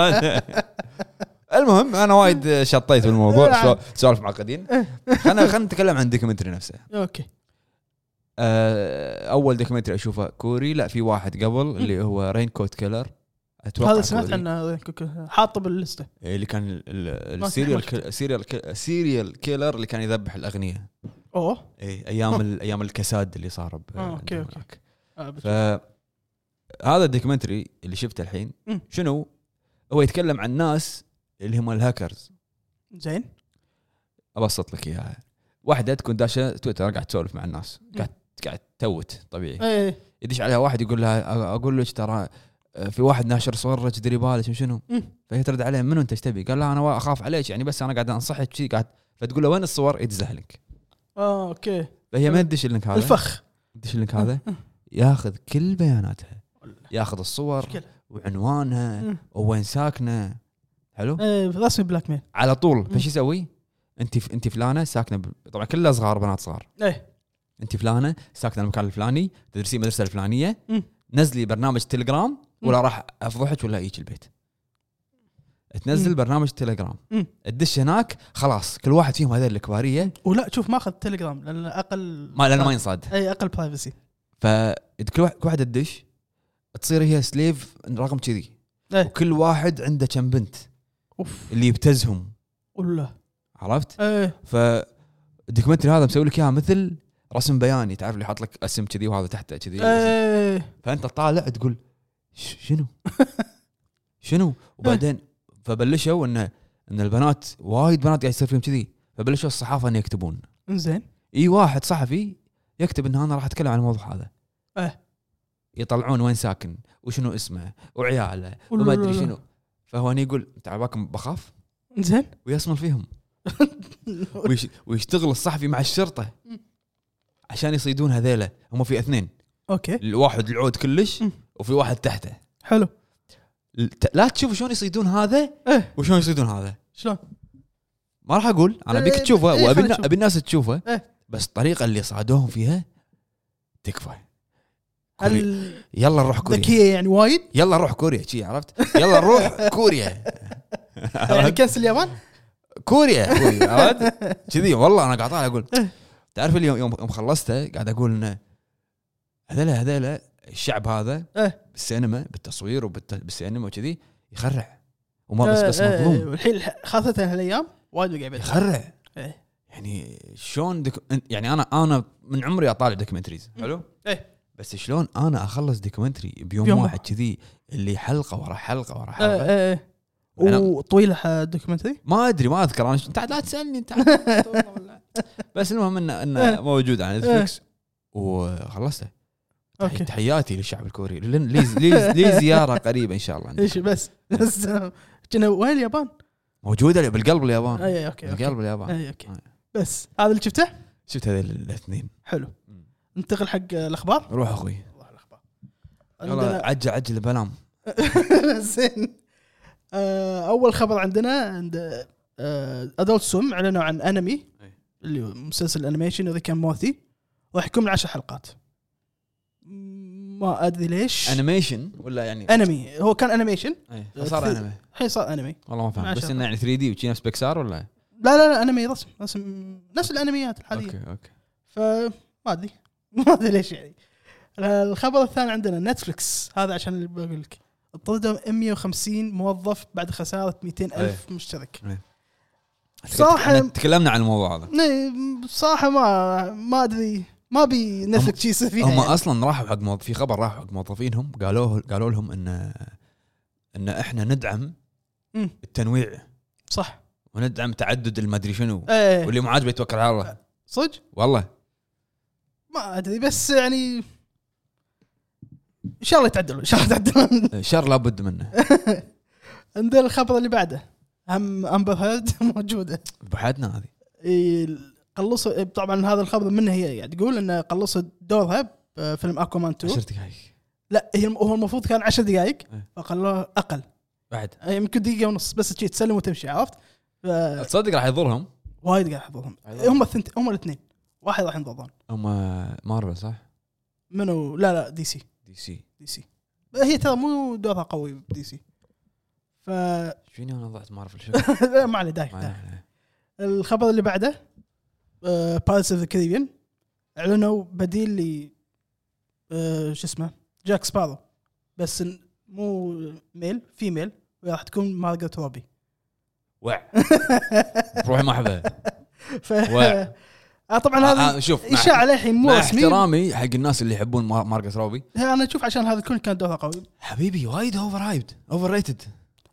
S2: عرفت؟ المهم انا وايد شطيت
S1: إيه.
S2: بالموضوع سوا- سوالف معقدين خلينا خلينا نتكلم عن الدوكيومنتري نفسه
S1: اوكي
S2: آه، اول دوكيومنتري اشوفه كوري لا في واحد قبل اللي هو رين كوت كيلر اتوقع
S1: هذا
S2: كوري.
S1: سمعت عنه كوكو- حاطه باللسته
S2: إيه، اللي كان ال- ال-
S1: ما
S2: السيريال
S1: سمعت.
S2: كي- السيريال كي- السيريال كيلر اللي كان يذبح الاغنياء
S1: اوه
S2: اي ايام ال- ايام الكساد اللي صار ب-
S1: آه، أوكي،
S2: عندهم
S1: أوكي.
S2: هناك.
S1: آه، بت-
S2: ف هذا الدوكيومنتري اللي شفته الحين
S1: مم.
S2: شنو؟ هو يتكلم عن ناس اللي هم الهاكرز
S1: زين
S2: ابسط لك اياها واحده تكون داشه تويتر قاعد تسولف مع الناس قاعد قاعد توت طبيعي
S1: اي إي.
S2: يدش عليها واحد يقول لها اقول لك ترى آه، في واحد ناشر صورك ديري بالك وشنو
S1: مم.
S2: فهي ترد عليه منو انت ايش تبي؟ قال لا انا اخاف عليك يعني بس انا قاعد انصحك شي قاعد فتقول له وين الصور يدزها لك
S1: اه اوكي
S2: فهي ما تدش اللينك هذا
S1: الفخ
S2: تدش اللينك هذا ياخذ كل بياناتها
S1: والله. إيه.
S2: ياخذ الصور
S1: مشكلة.
S2: وعنوانها
S1: مم.
S2: وين ساكنه حلو
S1: ايه رسمي بلاك ميل
S2: على طول
S1: مم.
S2: فش يسوي؟ انت انت فلانه ساكنه ب... طبعا كلها صغار بنات صغار
S1: ايه
S2: انت فلانه ساكنه المكان الفلاني تدرسين المدرسه الفلانيه
S1: مم.
S2: نزلي برنامج تليجرام ولا راح افضحك ولا اجيك البيت تنزل
S1: مم.
S2: برنامج تليجرام
S1: مم.
S2: تدش هناك خلاص كل واحد فيهم هذول الكباريه
S1: ولا شوف ما اخذ تليجرام لان اقل
S2: ما لانه ما ينصاد
S1: اي اقل برايفسي
S2: فكل واحد كل واحد تدش تصير هي سليف رقم كذي
S1: إيه.
S2: وكل واحد عنده كم بنت
S1: اوف
S2: اللي يبتزهم
S1: ولا
S2: عرفت؟
S1: ايه
S2: ف الدوكيومنتري هذا مسوي لك اياها مثل رسم بياني تعرف اللي يحط لك اسم كذي وهذا تحته كذي
S1: ايه
S2: فانت طالع تقول "ش- شنو؟ شنو؟ وبعدين فبلشوا انه ان البنات وايد بنات قاعد يصير فيهم كذي فبلشوا الصحافه ان يكتبون
S1: انزين
S2: اي واحد صحفي يكتب ان انا راح اتكلم عن الموضوع هذا
S1: إيه.
S2: يطلعون وين ساكن وشنو اسمه وعياله
S1: ولا-
S2: وما
S1: لا-
S2: ادري
S1: لا.
S2: شنو فهو هني يقول "أنت عباكم بخاف
S1: انزين
S2: ويصمل فيهم ويش- ويشتغل الصحفي مع الشرطه
S1: مم.
S2: عشان يصيدون هذيله هم في اثنين
S1: اوكي
S2: الواحد العود كلش
S1: مم.
S2: وفي واحد تحته
S1: حلو
S2: الت- لا تشوف شلون يصيدون هذا
S1: إيه.
S2: وشلون يصيدون هذا
S1: شلون
S2: ما راح اقول انا ابيك
S1: إيه،
S2: تشوفه
S1: إيه،
S2: وابي
S1: خلنا
S2: النا-
S1: نشوف.
S2: ابي الناس تشوفه
S1: إيه.
S2: بس الطريقه اللي صادوهم فيها تكفى كوريا.
S1: هل
S2: يلا نروح كوريا
S1: ذكيه يعني وايد
S2: يلا نروح كوريا شي عرفت يلا نروح كوريا
S1: يعني كنسل اليابان
S2: كوريا كوريا، عرفت؟ كذي والله انا قاعد طالع اقول
S1: إيه.
S2: تعرف اليوم يوم يوم خلصته قاعد اقول انه هذيلا هذيلا الشعب هذا
S1: إيه.
S2: بالسينما بالتصوير وبالسينما وكذي يخرع
S1: إيه،
S2: وما بس بس مظلوم
S1: الحين خاصه هالايام وايد وقع بيت
S2: يخرع
S1: إيه.
S2: يعني شلون دك... يعني انا انا من عمري اطالع دوكيومنتريز
S1: مم.
S2: حلو؟
S1: إيه.
S2: بس شلون انا اخلص دوكيومنتري بيوم
S1: بيوم
S2: واحد كذي اللي حلقه ورا حلقه ورا
S1: إيه،
S2: حلقه
S1: إيه، إيه.
S2: أنا-
S1: وطويله دوكيومنتري
S2: ما ادري ما اذكر انا ش- انت لا تسالني انت عاد- والله. بس المهم انه انه
S1: إيه.
S2: موجود على نتفلكس وخلصته
S1: اوكي
S2: تحياتي للشعب الكوري لن- لي لي- لي زياره قريبه ان شاء الله عندك.
S1: ايش بس بس كنا وين اليابان؟ إيه،
S2: موجوده بالقلب اليابان
S1: اي اوكي اوكي
S2: بالقلب اليابان
S1: اي اوكي إيه، بس هذا اللي شفته
S2: شفت هذول الاثنين
S1: حلو
S2: مم.
S1: ننتقل حق الاخبار
S2: روح اخوي
S1: والله الاخبار
S2: يلا
S1: عندنا
S2: عجل عجل بنام
S1: زين آه، اول خبر عندنا عند آه، ادولت سوم اعلنوا عن انمي
S2: أي.
S1: اللي هو مسلسل انيميشن ذا كان موثي راح يكون من عشر حلقات ما ادري ليش
S2: انيميشن ولا يعني
S1: انمي هو كان انيميشن
S2: إيه، صار
S1: كثير.
S2: انمي
S1: الحين صار انمي
S2: والله ما فهمت
S1: ماشي.
S2: بس انه يعني 3 دي وشي نفس بيكسار ولا
S1: لا لا لا انمي رسم رسم نفس الانميات الحاليه
S2: اوكي اوكي
S1: فما ادري ما ادري ليش يعني الخبر الثاني عندنا نتفلكس هذا عشان اللي بقول لك طردوا 150 موظف بعد خساره 200 الف مشترك صراحة-
S2: إحنا تكلمنا عن الموضوع هذا
S1: نعم، بصراحه ما ما ادري ما بي نتفلكس شيء يصير فيها
S2: هم
S1: يعني.
S2: اصلا راحوا حق موظف في خبر راحوا حق موظفينهم قالوا قالوا لهم ان ان احنا ندعم
S1: مم.
S2: التنويع
S1: صح
S2: وندعم تعدد المدري شنو
S1: ايه
S2: واللي مو عاجبه يتوكل على الله
S1: صدق
S2: والله
S1: ما ادري بس يعني ان شاء الله يتعدلون ان شاء الله يتعدلون
S2: شر لابد منه
S1: عندنا الخبر اللي بعده هم امبر هيرد موجوده
S2: بحدنا هذه
S1: إيه، قلصوا إيه، طبعا هذا الخبر منها هي قاعد تقول انه قلصوا آه، دورها بفيلم اكوامان
S2: 10
S1: 2
S2: دقائق
S1: لا هي هو المفروض كان 10 دقائق
S2: إيه.
S1: فخلوه اقل
S2: بعد
S1: يعني يمكن دقيقه ونص بس تشي تسلم وتمشي عرفت؟ فوايد
S2: تصدق راح يضرهم
S1: قاعد يحضرهم
S2: أيوة.
S1: هم الثنتين هم الاثنين واحد راح ينضرون
S2: هم مارفل صح؟
S1: منو لا لا دي سي
S2: دي سي
S1: دي سي هي ترى مو دورها قوي بدي سي ف
S2: ايش فيني انا ضعت مارفل شو
S1: لا، ما عليه دايخ
S2: ما
S1: دايخ.
S2: أنا-
S1: الخبر اللي بعده آه، بايرتس اوف ذا كاريبيان اعلنوا بديل ل آه، شو اسمه جاك سبارو بس إن مو ميل فيميل راح تكون مارجريت روبي
S2: وع روحي ما احبها
S1: ف
S2: و-
S1: آه، طبعا
S2: آه،
S1: هذا
S2: شوف مع-
S1: اشاعه للحين مو
S2: مع
S1: رسمي
S2: احترامي حق الناس اللي يحبون مار- ماركس روبي
S1: هي انا اشوف عشان هذا الكل كان دورها قوي
S2: حبيبي وايد اوفر هايبد اوفر ريتد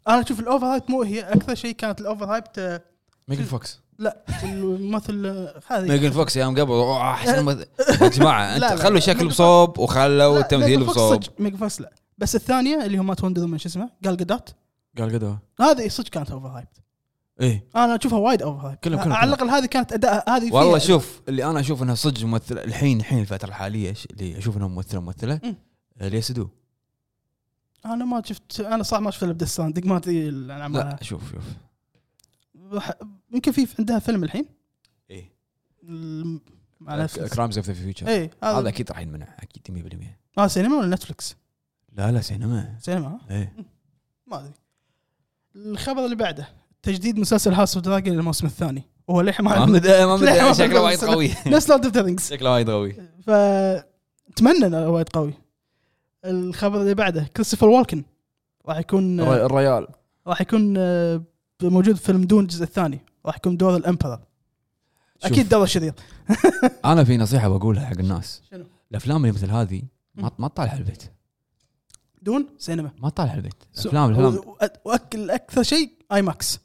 S1: انا اشوف الاوفر هايب مو هي اكثر شيء كانت الاوفر هايب ت-
S2: ميجن فوكس
S1: لا الممثل آه، هذه
S2: ميجن فوكس يوم قبل أوه، احسن ممثل. يا جماعه
S1: لا،
S2: انت
S1: لا.
S2: خلوا الشكل بصوب وخلوا التمثيل بصوب
S1: ميجا فوكس لا بس الثانيه اللي هم مات وندر من شو اسمه قال قدات
S2: قال كذا
S1: هذه صدق كانت اوفر هايب
S2: ايه
S1: انا اشوفها وايد اوفر هايب
S2: كلهم- كلهم-
S1: على الاقل هذه كانت اداء هذه فيها-
S2: والله شوف اللي انا اشوف انها صدق ممثله الحين الحين الفتره الحاليه ش- اللي اشوف انها ممثله ممثله
S1: مم.
S2: ليا سدو
S1: انا ما شفت انا صح ما شفت الا بدستاندق ما ادري الألعاب
S2: لا
S1: مالها.
S2: شوف شوف
S1: راح- يمكن في عندها فيلم الحين
S2: ايه
S1: الم- على نتفلكس
S2: كرامز اوف ذا فيوتشر
S1: اي
S2: هذا
S1: هذا
S2: اكيد راح ينمنع اكيد 100%
S1: اه سينما ولا نتفلكس؟
S2: لا لا سينما
S1: سينما ها؟
S2: ايه
S1: ما ادري الخبر اللي بعده تجديد مسلسل هاوس اوف دراجون للموسم الثاني وهو للحين
S2: ما
S1: ما
S2: بدا ما
S1: لا، ما
S2: بدا شكله
S1: بدأ
S2: وايد
S1: السنة.
S2: قوي
S1: نفس لورد اوف ذا رينجز
S2: شكله وايد قوي
S1: ف اتمنى انه وايد قوي الخبر اللي بعده كريستوفر والكن راح يكون
S2: الريال
S1: راح يكون آه، موجود في فيلم دون الجزء الثاني راح يكون دور الامبرر اكيد دور شرير
S2: انا في نصيحه بقولها حق الناس
S1: شنو؟
S2: الافلام اللي مثل هذه ما ما تطالع البيت
S1: دون سينما
S2: ما تطالع البيت
S1: سو-
S2: الافلام الافلام
S1: و- وأ- واكل اكثر شيء اي ماكس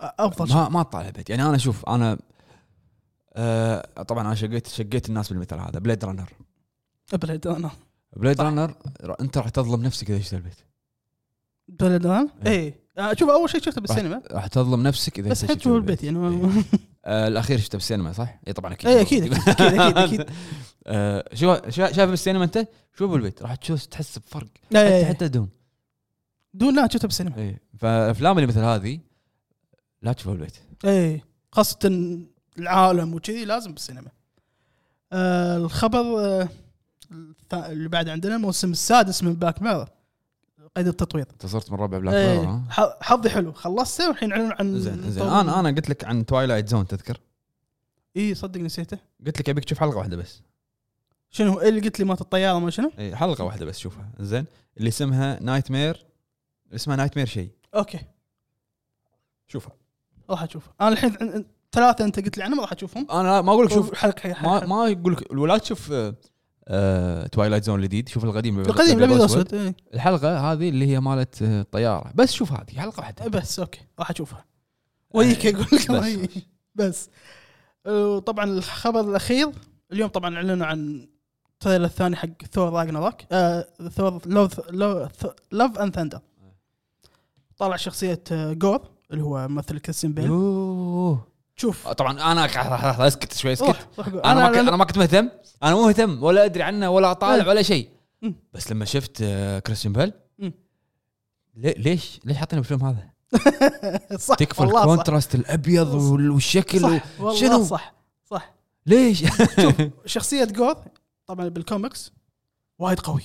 S1: افضل شيء
S2: ما ما تطالع البيت يعني انا شوف انا آه طبعا انا شقيت شقيت الناس بالمثل هذا بليد رانر
S1: بلد انا
S2: بليد
S1: صح.
S2: رانر انت راح تظلم نفسك اذا اشتريت البيت
S1: بلد انا اي إيه. آه، شوف اول شيء شفته بالسينما
S2: إيه. راح تظلم نفسك اذا
S1: بس
S2: أنت
S1: حد
S2: شفته
S1: شوفه بالبيت يعني ما-
S2: آه الاخير شفته بالسينما صح؟ اي طبعا اكيد
S1: إيه، أكيد، أكيد، أكيد، أكيد، أكيد.
S2: آه، شو شا- شايف بالسينما انت؟ شوف بالبيت راح تشوف تحس بفرق
S1: إيه،
S2: حتى
S1: إيه.
S2: حتى دون
S1: دون لا شفته بالسينما
S2: اي فالافلام اللي مثل إيه. هذه لا تشوفها بالبيت
S1: اي خاصه إيه. العالم وكذي لازم بالسينما آه الخبر آه الثا- اللي بعد عندنا الموسم السادس من باك ميرا قيد التطوير
S2: انت صرت من ربع بلاك
S1: إيه،
S2: بيرو، ها؟
S1: ح- حظي حلو خلصته والحين اعلن عن
S2: زين زين انا انا قلت لك عن توايلايت زون تذكر؟
S1: اي صدق نسيته
S2: قلت لك ابيك تشوف حلقه واحده بس
S1: شنو اللي قلت لي مات الطياره ما شنو
S2: اي حلقه واحده بس شوفها زين اللي اسمها نايت مير اسمها نايت مير شيء
S1: اوكي
S2: شوفها
S1: راح اشوف انا الحين عن- عن- ثلاثه انت قلت لي عنهم راح اشوفهم
S2: انا ما اقول لك شوف
S1: شوف حلقه حلقه,
S2: ما
S1: حلقة.
S2: ما اقول لك ولا تشوف آه، توايلايت زون الجديد شوف القديم
S1: القديم الابيض والاسود إيه.
S2: الحلقه هذه اللي هي مالت آه، طياره بس شوف هذه حلقه واحده
S1: إيه، بس اوكي راح اشوفها ويك اقول لك
S2: إيه. بس.
S1: ويك. بس وطبعا الخبر الاخير اليوم طبعا اعلنوا عن التريلر الثاني حق ثور راجناروك آه ثور لوف لوف اند ثندر طلع شخصيه آه، جور اللي هو ممثل كريستيان بيل
S2: يوه.
S1: شوف
S2: طبعا انا ك- راح- راح اسكت شوي اسكت
S1: روح- روح قول.
S2: انا آه، ما ك-
S1: أنا-
S2: انا ما كنت مهتم انا مو مهتم ولا ادري عنه ولا اطالع
S1: إيه.
S2: ولا شيء
S1: مم.
S2: بس لما شفت آه، كريستيان بيل
S1: مم.
S2: لي- ليش ليش حاطين الفيلم هذا؟
S1: صح
S2: تكفى
S1: والله صح.
S2: الكونتراست الابيض وال- والشكل و-
S1: صح والله
S2: شنو؟
S1: صح صح
S2: ليش؟
S1: شخصية جوث طبعا بالكوميكس وايد قوي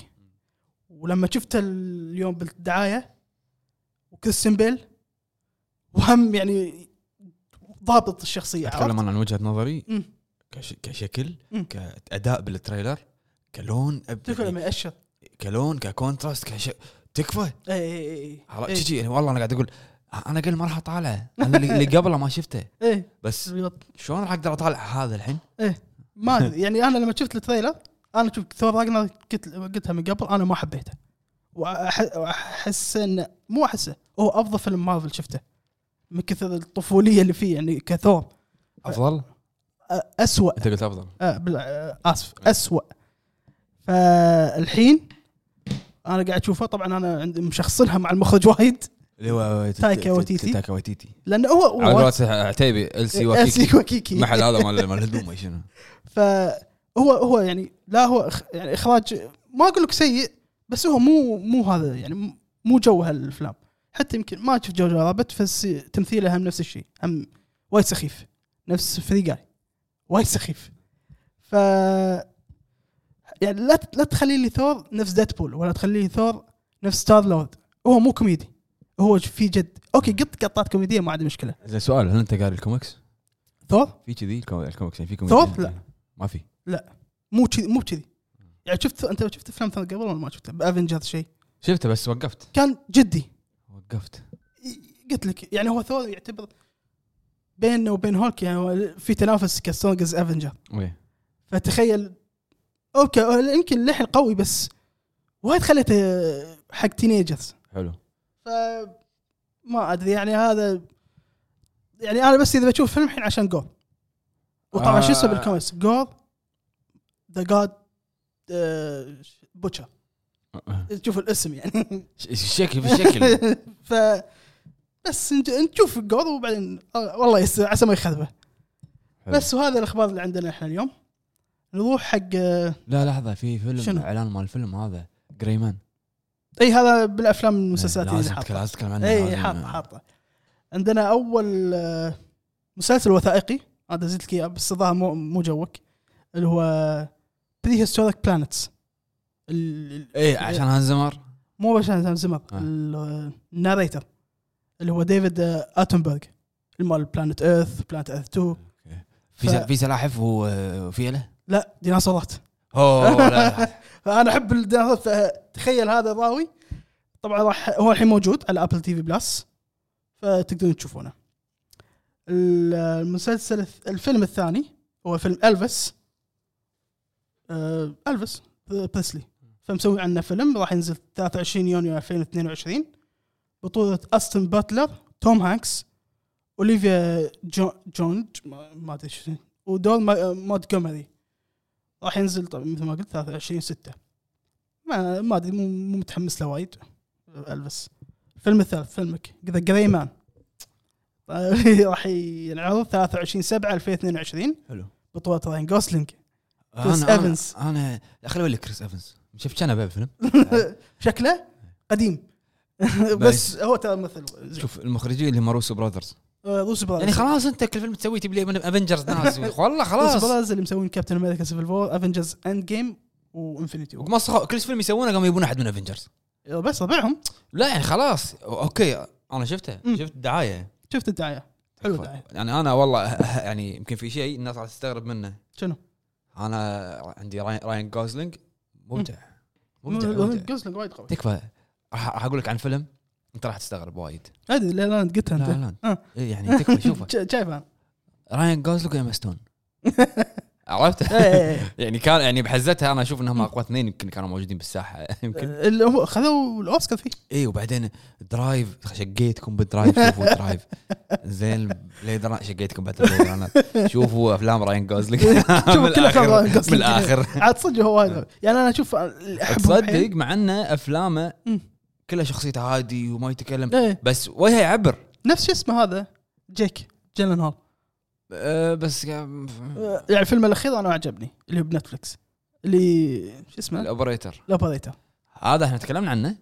S1: ولما شفته اليوم بالدعاية وكريستيان بيل وهم يعني ضابط الشخصية
S2: اتكلم
S1: عرفت؟
S2: انا عن وجهه نظري
S1: مم.
S2: كش- كشكل
S1: مم.
S2: كاداء بالتريلر كلون أب-
S1: إيه. تكفى لما يأشر
S2: كلون ككونتراست كش... تكفى
S1: إي إي إي
S2: عرفت؟
S1: إي.
S2: شي- يعني والله انا قاعد اقول انا قبل ما راح اطالعه انا اللي اللي قبله ما شفته
S1: إي
S2: بس شلون راح اقدر اطالع هذا الحين؟
S1: ما أدري، يعني أنا لما شفت التريلر أنا شفت ثور راجنر قلت قلتها من قبل أنا ما حبيته وأح- وأحس إنه مو أحسه هو أفضل فيلم مارفل شفته من كثر الطفولية اللي فيه يعني كثور
S2: افضل
S1: أ- أسوأ
S2: انت قلت افضل
S1: آه بال- آه، اسف اسوء فالحين انا قاعد اشوفه طبعا انا عندي مشخصنها مع المخرج وايد
S2: اللي هو ت-
S1: تايكا
S2: ت-
S1: وتيتي.
S2: تايكا وتيتي
S1: لانه هو هو
S2: على قولة عتيبي ال سي
S1: أسي
S2: وكيكي
S1: وكيكي
S2: محل هذا مال مال الهدوم شنو
S1: فهو هو يعني لا هو إخ- يعني اخراج ما اقول لك سيء بس هو مو مو هذا يعني م- مو جو هالافلام حتى يمكن ما اشوف جوجو رابط بس تمثيله هم نفس الشيء هم وايد سخيف نفس فري جاي وايد سخيف ف يعني لا ت- لا تخلي لي ثور نفس ديدبول ولا تخلي لي ثور نفس ستار لورد هو مو كوميدي هو في جد اوكي قط قطات كوميديه ما عندي مشكله
S2: زين سؤال هل انت قاري الكوميكس؟
S1: ثور
S2: في كذي الكو- الكوميكس يعني في
S1: ثوب؟
S2: كوميكس
S1: لا.
S2: ما في
S1: مو كذي مو كذي يعني شفت انت شفت افلام ثور قبل ولا ما شفته بافنجرز شيء
S2: شفته بس وقفت
S1: كان جدي
S2: وقفت
S1: قلت لك يعني هو ثور يعتبر بينه وبين هولك يعني هو في تنافس كسترونجز افنجر
S2: وي
S1: فتخيل اوكي أو يمكن لحن قوي بس وايد خليته حق تينيجرز
S2: حلو
S1: ف ما ادري يعني هذا يعني انا بس اذا بشوف فيلم الحين عشان جور وطبعا
S2: آه.
S1: شو اسمه بالكوميكس جور ذا جاد آه، بوتشر تشوف الاسم يعني
S2: ش- الشكل بالشكل
S1: ف بس نج- نشوف جور وبعدين آه، والله يس عسى ما يخربه
S2: حلو.
S1: بس وهذا الاخبار اللي عندنا احنا اليوم نروح حق آه،
S2: لا لحظه في فيلم
S1: شنو؟
S2: اعلان مال الفيلم هذا جريمان
S1: اي هذا بالافلام والمسلسلات اللي
S2: إيه، لازم
S1: حاطة.
S2: تتكلم- لازم تتكلم عنه
S1: اي
S2: لازم-
S1: حاطه حاطه عندنا اول آه، مسلسل وثائقي هذا زدت لك اياه بس الظاهر مو مو جوك اللي هو بري هيستوريك بلانتس
S2: اي إيه، عشان هانز زمر
S1: مو عشان سام زمر
S2: آه.
S1: ال- الناريتر اللي هو ديفيد آه، اتنبرغ المال بلانت ايرث بلانت ايرث 2
S2: في
S1: ف-
S2: س- في سلاحف و- وفيله
S1: لا ديناصورات
S2: اوه لا، لا
S1: فانا احب الديناصورات فتخيل هذا الراوي طبعا راح هو الحين موجود على ابل تي في بلس فتقدرون تشوفونه ال- المسلسل الث- الفيلم الثاني هو فيلم الفس آه، الفس بريسلي فمسوي عنه فيلم راح ينزل 23 يونيو 2022 بطولة استن باتلر توم هانكس اوليفيا جو جون ما- ما ادري شو اسمه، ودول ما- مونتجومري راح ينزل طبعا مثل ما قلت 23 6 ما ما ادري مو مو متحمس له وايد البس الفيلم الثالث فيلمك ذا جراي مان راح ينعرض 23 7 2022
S2: حلو
S1: بطولة راين جوسلينج كريس
S2: أنا- أنا-
S1: إيفنز.
S2: انا لا خليني اقول لك كريس ايفنز شفت شنو بقى الفيلم
S1: شكله قديم بس
S2: نايس.
S1: هو ترى مثل
S2: شوف المخرجين اللي هم روسو براذرز
S1: روس براذرز
S2: يعني خلاص انت كل فيلم تسويه تجيب لي من افنجرز ناس والله
S1: روس
S2: خلاص
S1: براذرز اللي مسوين كابتن امريكا سيفل وور افنجرز اند جيم وانفنتي وور
S2: وقمص كل فيلم يسوونه قاموا يبون احد من افنجرز
S1: بس ربعهم
S2: لا يعني خلاص اوكي انا شفته
S1: مم.
S2: شفت دعايه
S1: شفت الدعايه حلو الدعايه
S2: يعني انا والله يعني يمكن في شيء الناس راح تستغرب منه
S1: شنو؟
S2: انا عندي راين, راين جوزلينج مبدع مبدع, مبدع.
S1: جوسلينج وايد قوي
S2: تكفى راح راح اقول لك عن فيلم انت راح تستغرب وايد
S1: ادري لا لا قلتها
S2: لا
S1: انت
S2: لا
S1: آه.
S2: إيه، يعني تكفى شوفه
S1: شا- شايفها
S2: راين جوزلينج وإيما ستون عرفت
S1: إيه.
S2: يعني كان يعني بحزتها انا اشوف انهم اقوى اثنين يمكن كانوا موجودين بالساحه يمكن
S1: اللي هو خذوا الاوسكار فيه
S2: اي وبعدين درايف شقيتكم بالدرايف شوفوا درايف زين بليد ران- شقيتكم بعد بليد رانر. شوفوا افلام راين جوزلينج
S1: شوف
S2: من
S1: كل افلام راين
S2: الاخر من
S1: جوسلينج.
S2: الاخر
S1: عاد صدق هو وايد يعني انا اشوف اللي احبه
S2: نعم. تصدق مع انه افلامه
S1: مم.
S2: كلها شخصيته هادي وما يتكلم
S1: إيه.
S2: بس وجهه يعبر
S1: نفس شو اسمه هذا جيك جيلن هول
S2: أه بس
S1: يعني الفيلم الاخير انا عجبني اللي هو بنتفلكس اللي شو اسمه
S2: الاوبريتر
S1: الاوبريتر
S2: هذا احنا تكلمنا عنه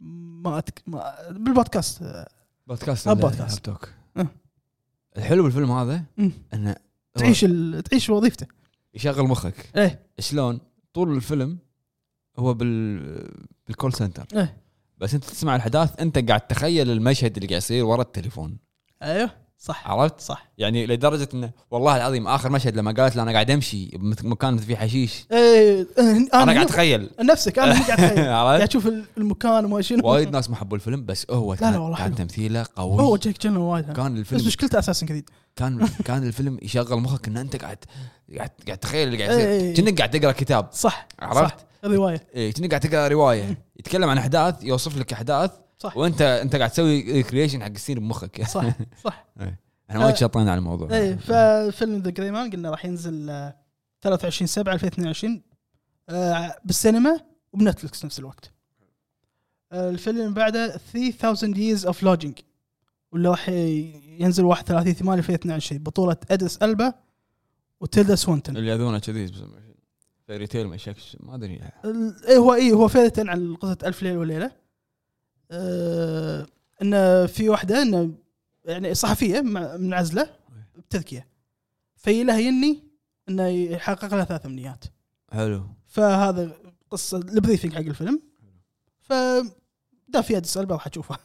S1: ما, أتك... ما بالبودكاست آه،
S2: بودكاست
S1: آه، بودكاست.
S2: توك
S1: آه.
S2: الحلو بالفيلم هذا
S1: مم.
S2: انه طيب.
S1: تعيش ال... تعيش وظيفته
S2: يشغل مخك
S1: ايه
S2: شلون طول الفيلم هو بال بالكول سنتر
S1: إيه.
S2: بس انت تسمع الاحداث انت قاعد تخيل المشهد اللي قاعد يصير ورا التليفون أيوه.
S1: ايوه صح
S2: عرفت
S1: صح
S2: يعني لدرجه انه والله العظيم اخر مشهد لما قالت له انا قاعد امشي بمكان فيه حشيش
S1: ايه انا,
S2: انا قاعد اتخيل
S1: نفسك انا مو قاعد اتخيل قاعد
S2: عرفت
S1: اشوف المكان وما أيوه. شنو
S2: وايد ناس ما حبوا الفيلم بس هو كان,
S1: والله
S2: كان
S1: حلو.
S2: تمثيله
S1: هو
S2: قوي
S1: جيك جيلن وايد حلو.
S2: كان
S1: بس
S2: الفيلم
S1: مشكلته اساسا جديد
S2: كان كان الفيلم يشغل مخك ان انت قاعد قاعد قاعد تخيل اللي قاعد
S1: إيه،
S2: يصير
S1: إيه.
S2: كأنك قاعد تقرا كتاب
S1: صح
S2: عرفت؟
S1: صح. الروايه
S2: إيه كأنك قاعد تقرا روايه يتكلم عن احداث يوصف لك احداث
S1: صح
S2: وانت انت قاعد تسوي كرييشن حق السين بمخك
S1: صح صح
S2: احنا وايد شطينا على الموضوع
S1: اي ففيلم ذا جراي مان قلنا راح ينزل آه، 23 7 2022 آه، بالسينما وبنتفلكس نفس الوقت آه، الفيلم بعده 3000 years of lodging واللي راح ي- ينزل 31 8 2022 بطولة ادريس البا وتيلدا سوانتون
S2: اللي ياذونه كذي فيري تيل ما شكش ما ادري
S1: ال- ايه هو ايه هو فائدة عن قصة ألف ليلة وليلة آه انه في واحدة انه يعني صحفية مع- منعزلة بتركيا في لها يني انه يحقق لها ثلاث امنيات
S2: حلو
S1: فهذا قصة البريفنج حق الفيلم ف ده في ادس البا راح اشوفه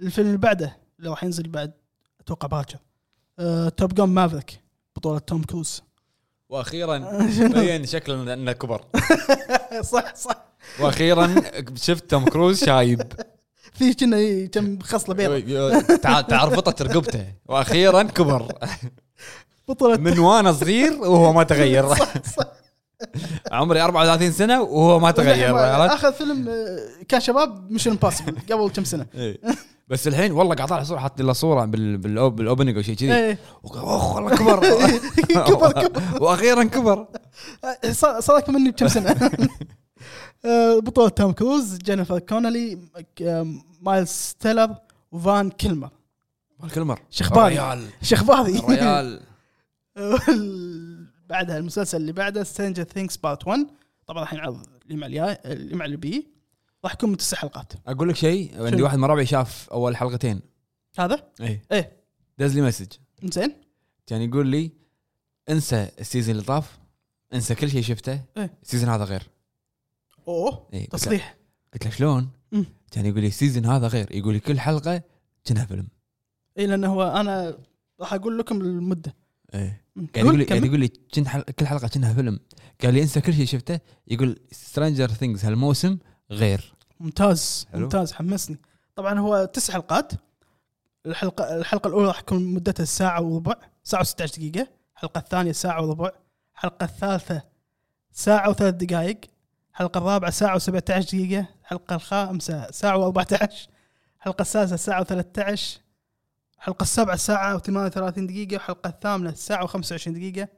S1: الفيلم اللي بعده اللي راح ينزل بعد اتوقع باكر آه توب جون مافريك بطولة توم كروز
S2: واخيرا بين شكله انه كبر
S1: صح صح
S2: واخيرا شفت توم كروز شايب
S1: في كنا كم خصله
S2: إيه.
S1: بيضاء
S2: تعال تعرفطت رقبته واخيرا كبر
S1: بطولة
S2: من وانا صغير وهو ما تغير
S1: صح صح
S2: عمري 34 سنه وهو ما تغير عرفت؟
S1: اخر فيلم آه، كان شباب مش امباسبل قبل كم سنه
S2: إيه. بس الحين والله قاعد اطالع صوره حاط له صوره بال- بالأو- بالاوبننج او شيء كذي
S1: إيه.
S2: وق- اخ والله كبر
S1: كبر كبر
S2: واخيرا كبر
S1: آه، صار- صار اكبر مني بكم سنه آه، بطولة توم كروز جينيفر كونلي مك- آه، مايلز تيلر وفان كلمر
S2: مالك المر
S1: شخباري.
S2: الريال
S1: شخباضي
S2: الريال
S1: وال- بعدها المسلسل اللي بعده سترينجر ثينكس بارت 1 طبعا راح ينعرض اللي مع الياي اللي مع اللي بي راح يكون من تسع حلقات
S2: اقول لك شيء عندي
S1: شنو؟
S2: واحد من ربعي شاف اول حلقتين
S1: هذا
S2: ايه
S1: ايه
S2: دز لي مسج
S1: زين
S2: كان يقول لي انسى السيزون اللي طاف انسى كل شيء شفته
S1: إيه.
S2: السيزون هذا غير
S1: اوه
S2: إيه، قلت له-
S1: تصريح
S2: قلت له شلون؟
S1: مم.
S2: كان يقول لي السيزون هذا غير يقول لي كل حلقه كانها فيلم
S1: اي لانه إيه، هو انا راح اقول لكم المده
S2: ايه
S1: مم.
S2: قاعد يقول
S1: إيه. قول،
S2: لي
S1: كمل.
S2: قاعد يقول لي كن حل... كل حلقه كانها فيلم قال لي انسى كل شيء شفته يقول سترينجر ثينجز هالموسم غير
S1: ممتاز
S2: حلو.
S1: ممتاز حمسني طبعا هو تسع حلقات الحلقه الحلقه الاولى راح تكون مدتها ساعه وربع ساعه و16 دقيقه الحلقه الثانيه ساعه وربع الحلقه الثالثه ساعه وثلاث دقائق الحلقه الرابعه ساعه و17 دقيقه الحلقه الخامسه ساعه و14 الحلقه السادسه ساعه و13 الحلقه السابعه ساعه و38 دقيقه الحلقه الثامنه ساعه و25 دقيقه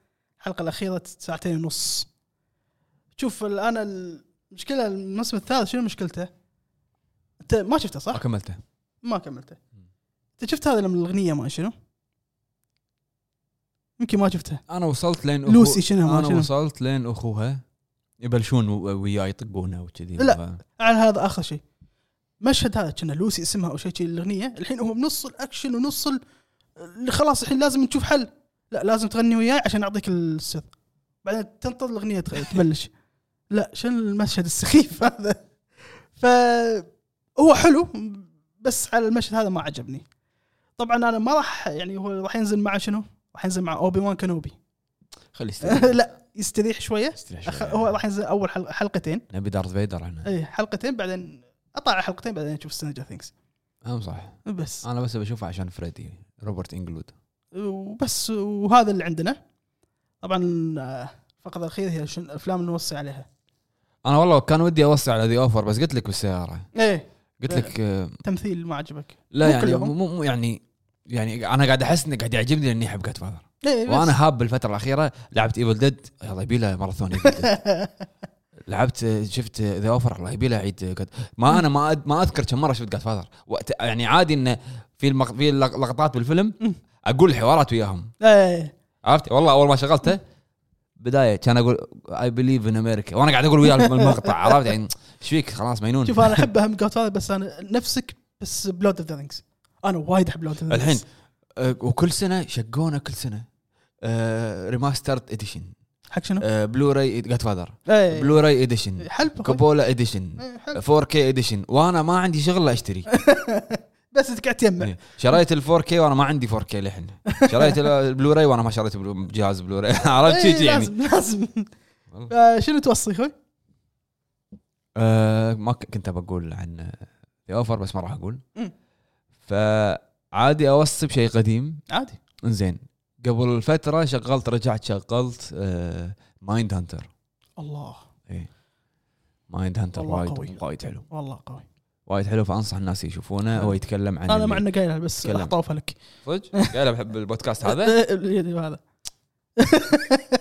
S1: الحلقه الاخيره ساعتين ونص شوف الان المشكله الموسم الثالث شنو مشكلته؟ انت ما شفته صح؟
S2: ما كملته
S1: ما كملته انت شفت هذا لما الاغنيه ما شنو؟ يمكن ما شفتها
S2: انا وصلت لين
S1: لوسي شنو ما
S2: انا
S1: شنو؟
S2: وصلت لين اخوها يبلشون و- وياي يطقونه وكذي
S1: لا. على هذا اخر شيء مشهد هذا كنا لوسي اسمها او شيء شي الاغنيه الحين هو بنص الاكشن ونص ال- اللي خلاص الحين لازم نشوف حل لا لازم تغني وياي عشان اعطيك السر بعدين تنطر الاغنيه تغ- تبلش لا شنو المشهد السخيف هذا ف هو حلو بس على المشهد هذا ما عجبني طبعا انا ما راح يعني هو راح ينزل مع شنو؟ راح ينزل مع اوبي وان كانوبي
S2: خلي يستريح
S1: لا يستريح شويه
S2: يستريح
S1: أخ-
S2: شوي.
S1: هو راح ينزل اول حل- حلقتين
S2: نبي دارث فيدر عنه
S1: اي إيه، حلقتين بعدين اطلع حلقتين بعدين اشوف سترينجر ثينكس
S2: هم صح
S1: بس
S2: انا بس بشوفه عشان فريدي روبرت انجلود
S1: وبس وهذا اللي عندنا طبعا آه، الفقره الاخيره هي شن الافلام اللي نوصي عليها
S2: انا والله كان ودي اوسع على ذي اوفر بس قلت لك بالسياره
S1: ايه
S2: قلت لك آه،
S1: تمثيل ما عجبك
S2: لا
S1: مو
S2: يعني
S1: كلهم.
S2: مو مو يعني يعني انا قاعد احس انه قاعد يعجبني لاني احب جاد فاذر
S1: ايه بس.
S2: وانا هاب بالفتره الاخيره لعبت ايفل ديد يلا يبي له ماراثون Evil Dead. لعبت آه، شفت ذا اوفر الله يبي له عيد آه، God- ما انا ما أد- ما اذكر كم مره شفت جاد فاذر وقت يعني عادي انه في المق... في اللق- لقطات بالفيلم
S1: مم.
S2: اقول الحوارات وياهم
S1: ايه
S2: عرفت والله اول ما شغلته بدايه كان اقول اي بليف ان امريكا وانا قاعد اقول وياه المقطع عرفت يعني ايش فيك خلاص مجنون
S1: شوف انا احب اهم جوت هذا بس انا نفسك بس بلود اوف ذا رينجز انا وايد احب بلود اوف ذا
S2: الحين آه، وكل سنه شقونا كل سنه آه، ريماسترد اديشن
S1: حق شنو؟
S2: آه، بلوراي جاد فاذر
S1: ايه
S2: بلوراي اديشن
S1: حلو أخوي.
S2: كابولا اديشن
S1: إيه، حلو
S2: 4K اديشن وانا ما عندي شغل اشتري
S1: بس انت قاعد تجمع
S2: إيه. شريت ال 4K وانا ما عندي 4K للحين شريت ال- البلوراي وانا ما شريت بلو- جهاز بلوراي عرفت
S1: إيه،
S2: شي يعني
S1: لازم لازم
S2: والله.
S1: آه، شنو توصي اخوي؟
S2: آه، ما ك- كنت بقول عن ذا اوفر بس ما راح اقول
S1: مم.
S2: فعادي اوصي بشيء قديم
S1: عادي
S2: انزين قبل فتره شغلت رجعت شغلت آه، مايند هانتر
S1: الله
S2: مايند هانتر
S1: والله
S2: طيب،
S1: قوي.
S2: وايد وايد حلو
S1: والله قوي
S2: وايد حلو فانصح الناس يشوفونه هو يتكلم عن
S1: انا مع انه قايلها بس
S2: تكلم.
S1: احطوفها لك إيه،
S2: صدق قاعد بحب البودكاست هذا
S1: هذا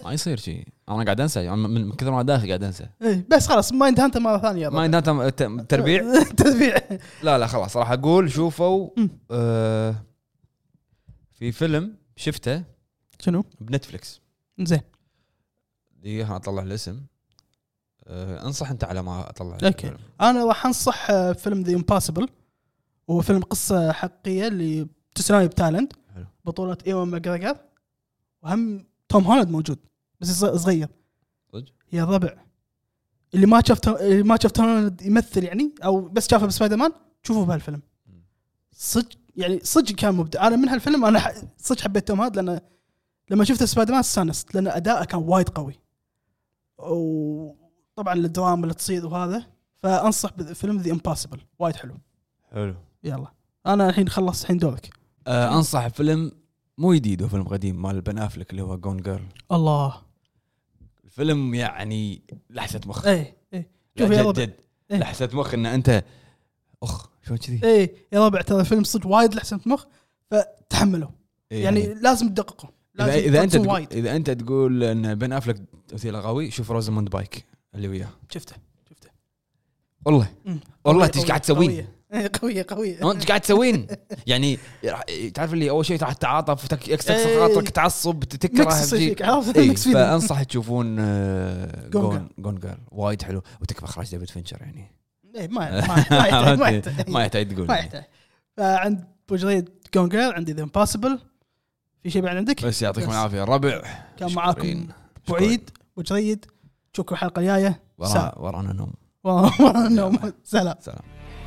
S2: ما يصير شيء انا قاعد انسى يعني من من كثر ما داخل قاعد انسى
S1: ايه بس خلاص مايند هانتر مره ثانيه
S2: مايند هانتر ت- تربيع
S1: تربيع
S2: لا لا خلاص راح اقول شوفوا
S1: مم.
S2: آه، في فيلم شفته
S1: شنو؟
S2: بنتفلكس
S1: زين
S2: دقيقة اطلع الاسم أه انصح انت على ما اطلع
S1: أوكي.
S2: الفيلم.
S1: انا راح انصح آه، فيلم ذا امباسبل وهو فيلم قصه حقيقيه لتسونامي بتايلاند
S2: حلو.
S1: بطوله ايوان ماجريجر وهم توم هولاند موجود بس ص- صغير
S2: صدق؟
S1: يا ربع اللي ما شاف تو- اللي ما شاف توم هولاند يمثل يعني او بس شافه بسبايدر مان شوفوا بهالفيلم
S2: مم.
S1: صدق يعني صدق كان مبدع انا من هالفيلم انا ح- صدق حبيت توم هولاند لانه لما شفت سبايدر مان استانست لان اداءه كان وايد قوي وطبعا الدراما اللي تصير وهذا فانصح بفيلم ذا امباسبل وايد حلو
S2: حلو
S1: يلا انا الحين خلصت الحين دورك
S2: آه انصح فيلم مو جديد هو فيلم قديم مال بن افلك اللي هو جون جيرل
S1: الله
S2: الفيلم يعني لحسه مخ
S1: اي اي إيه، شوف
S2: لا،
S1: يا
S2: جد
S1: ربع
S2: جد
S1: إيه.
S2: لحسه مخ ان انت اخ شلون كذي
S1: اي إيه، يا ربع ترى الفيلم صدق وايد لحسن مخ فتحملوا
S2: إيه،
S1: يعني لازم تدققوا
S2: اذا
S1: لازم
S2: اذا انت
S1: تركزوا
S2: تقول-
S1: وايد
S2: اذا انت تقول ان بن افلك تمثيله قوي شوف روزموند بايك اللي وياه
S1: شفته شفته
S2: والله
S1: أمم.
S2: والله
S1: قوية-
S2: انت ايش قاعد
S1: قوية-
S2: تسوين؟
S1: قوية. إيه، قويه قويه
S2: هو انت قاعد تسوين؟ يعني راح- تعرف اللي اول شيء راح تتعاطف تك- يكسر
S1: إيه.
S2: خاطرك تعصب تكره
S1: ميكس يصير
S2: تجي-
S1: فيك عرفت
S2: إيه،
S1: ميكس فيلينج.
S2: فانصح تشوفون آه،
S1: Gone
S2: جون جون جيرل وايد حلو وتكفى اخراج ديفيد فينشر يعني
S1: إيه، ما ما- ما يحتاج ما يحتاج
S2: ما يحتاج تقول
S1: ما
S2: يعني.
S1: يحتاج فعند بوجريد جون جير عندي ذا امباسبل في شيء بعد عندك؟
S2: بس يعطيكم
S1: بس.
S2: العافيه الربع
S1: كان
S2: شكرين.
S1: معاكم
S2: شكرين.
S1: بعيد وجريد نشوفكم الحلقه الجايه
S2: ورا-
S1: سلام.
S2: ورانا نوم
S1: والله النوم سلام
S2: سلام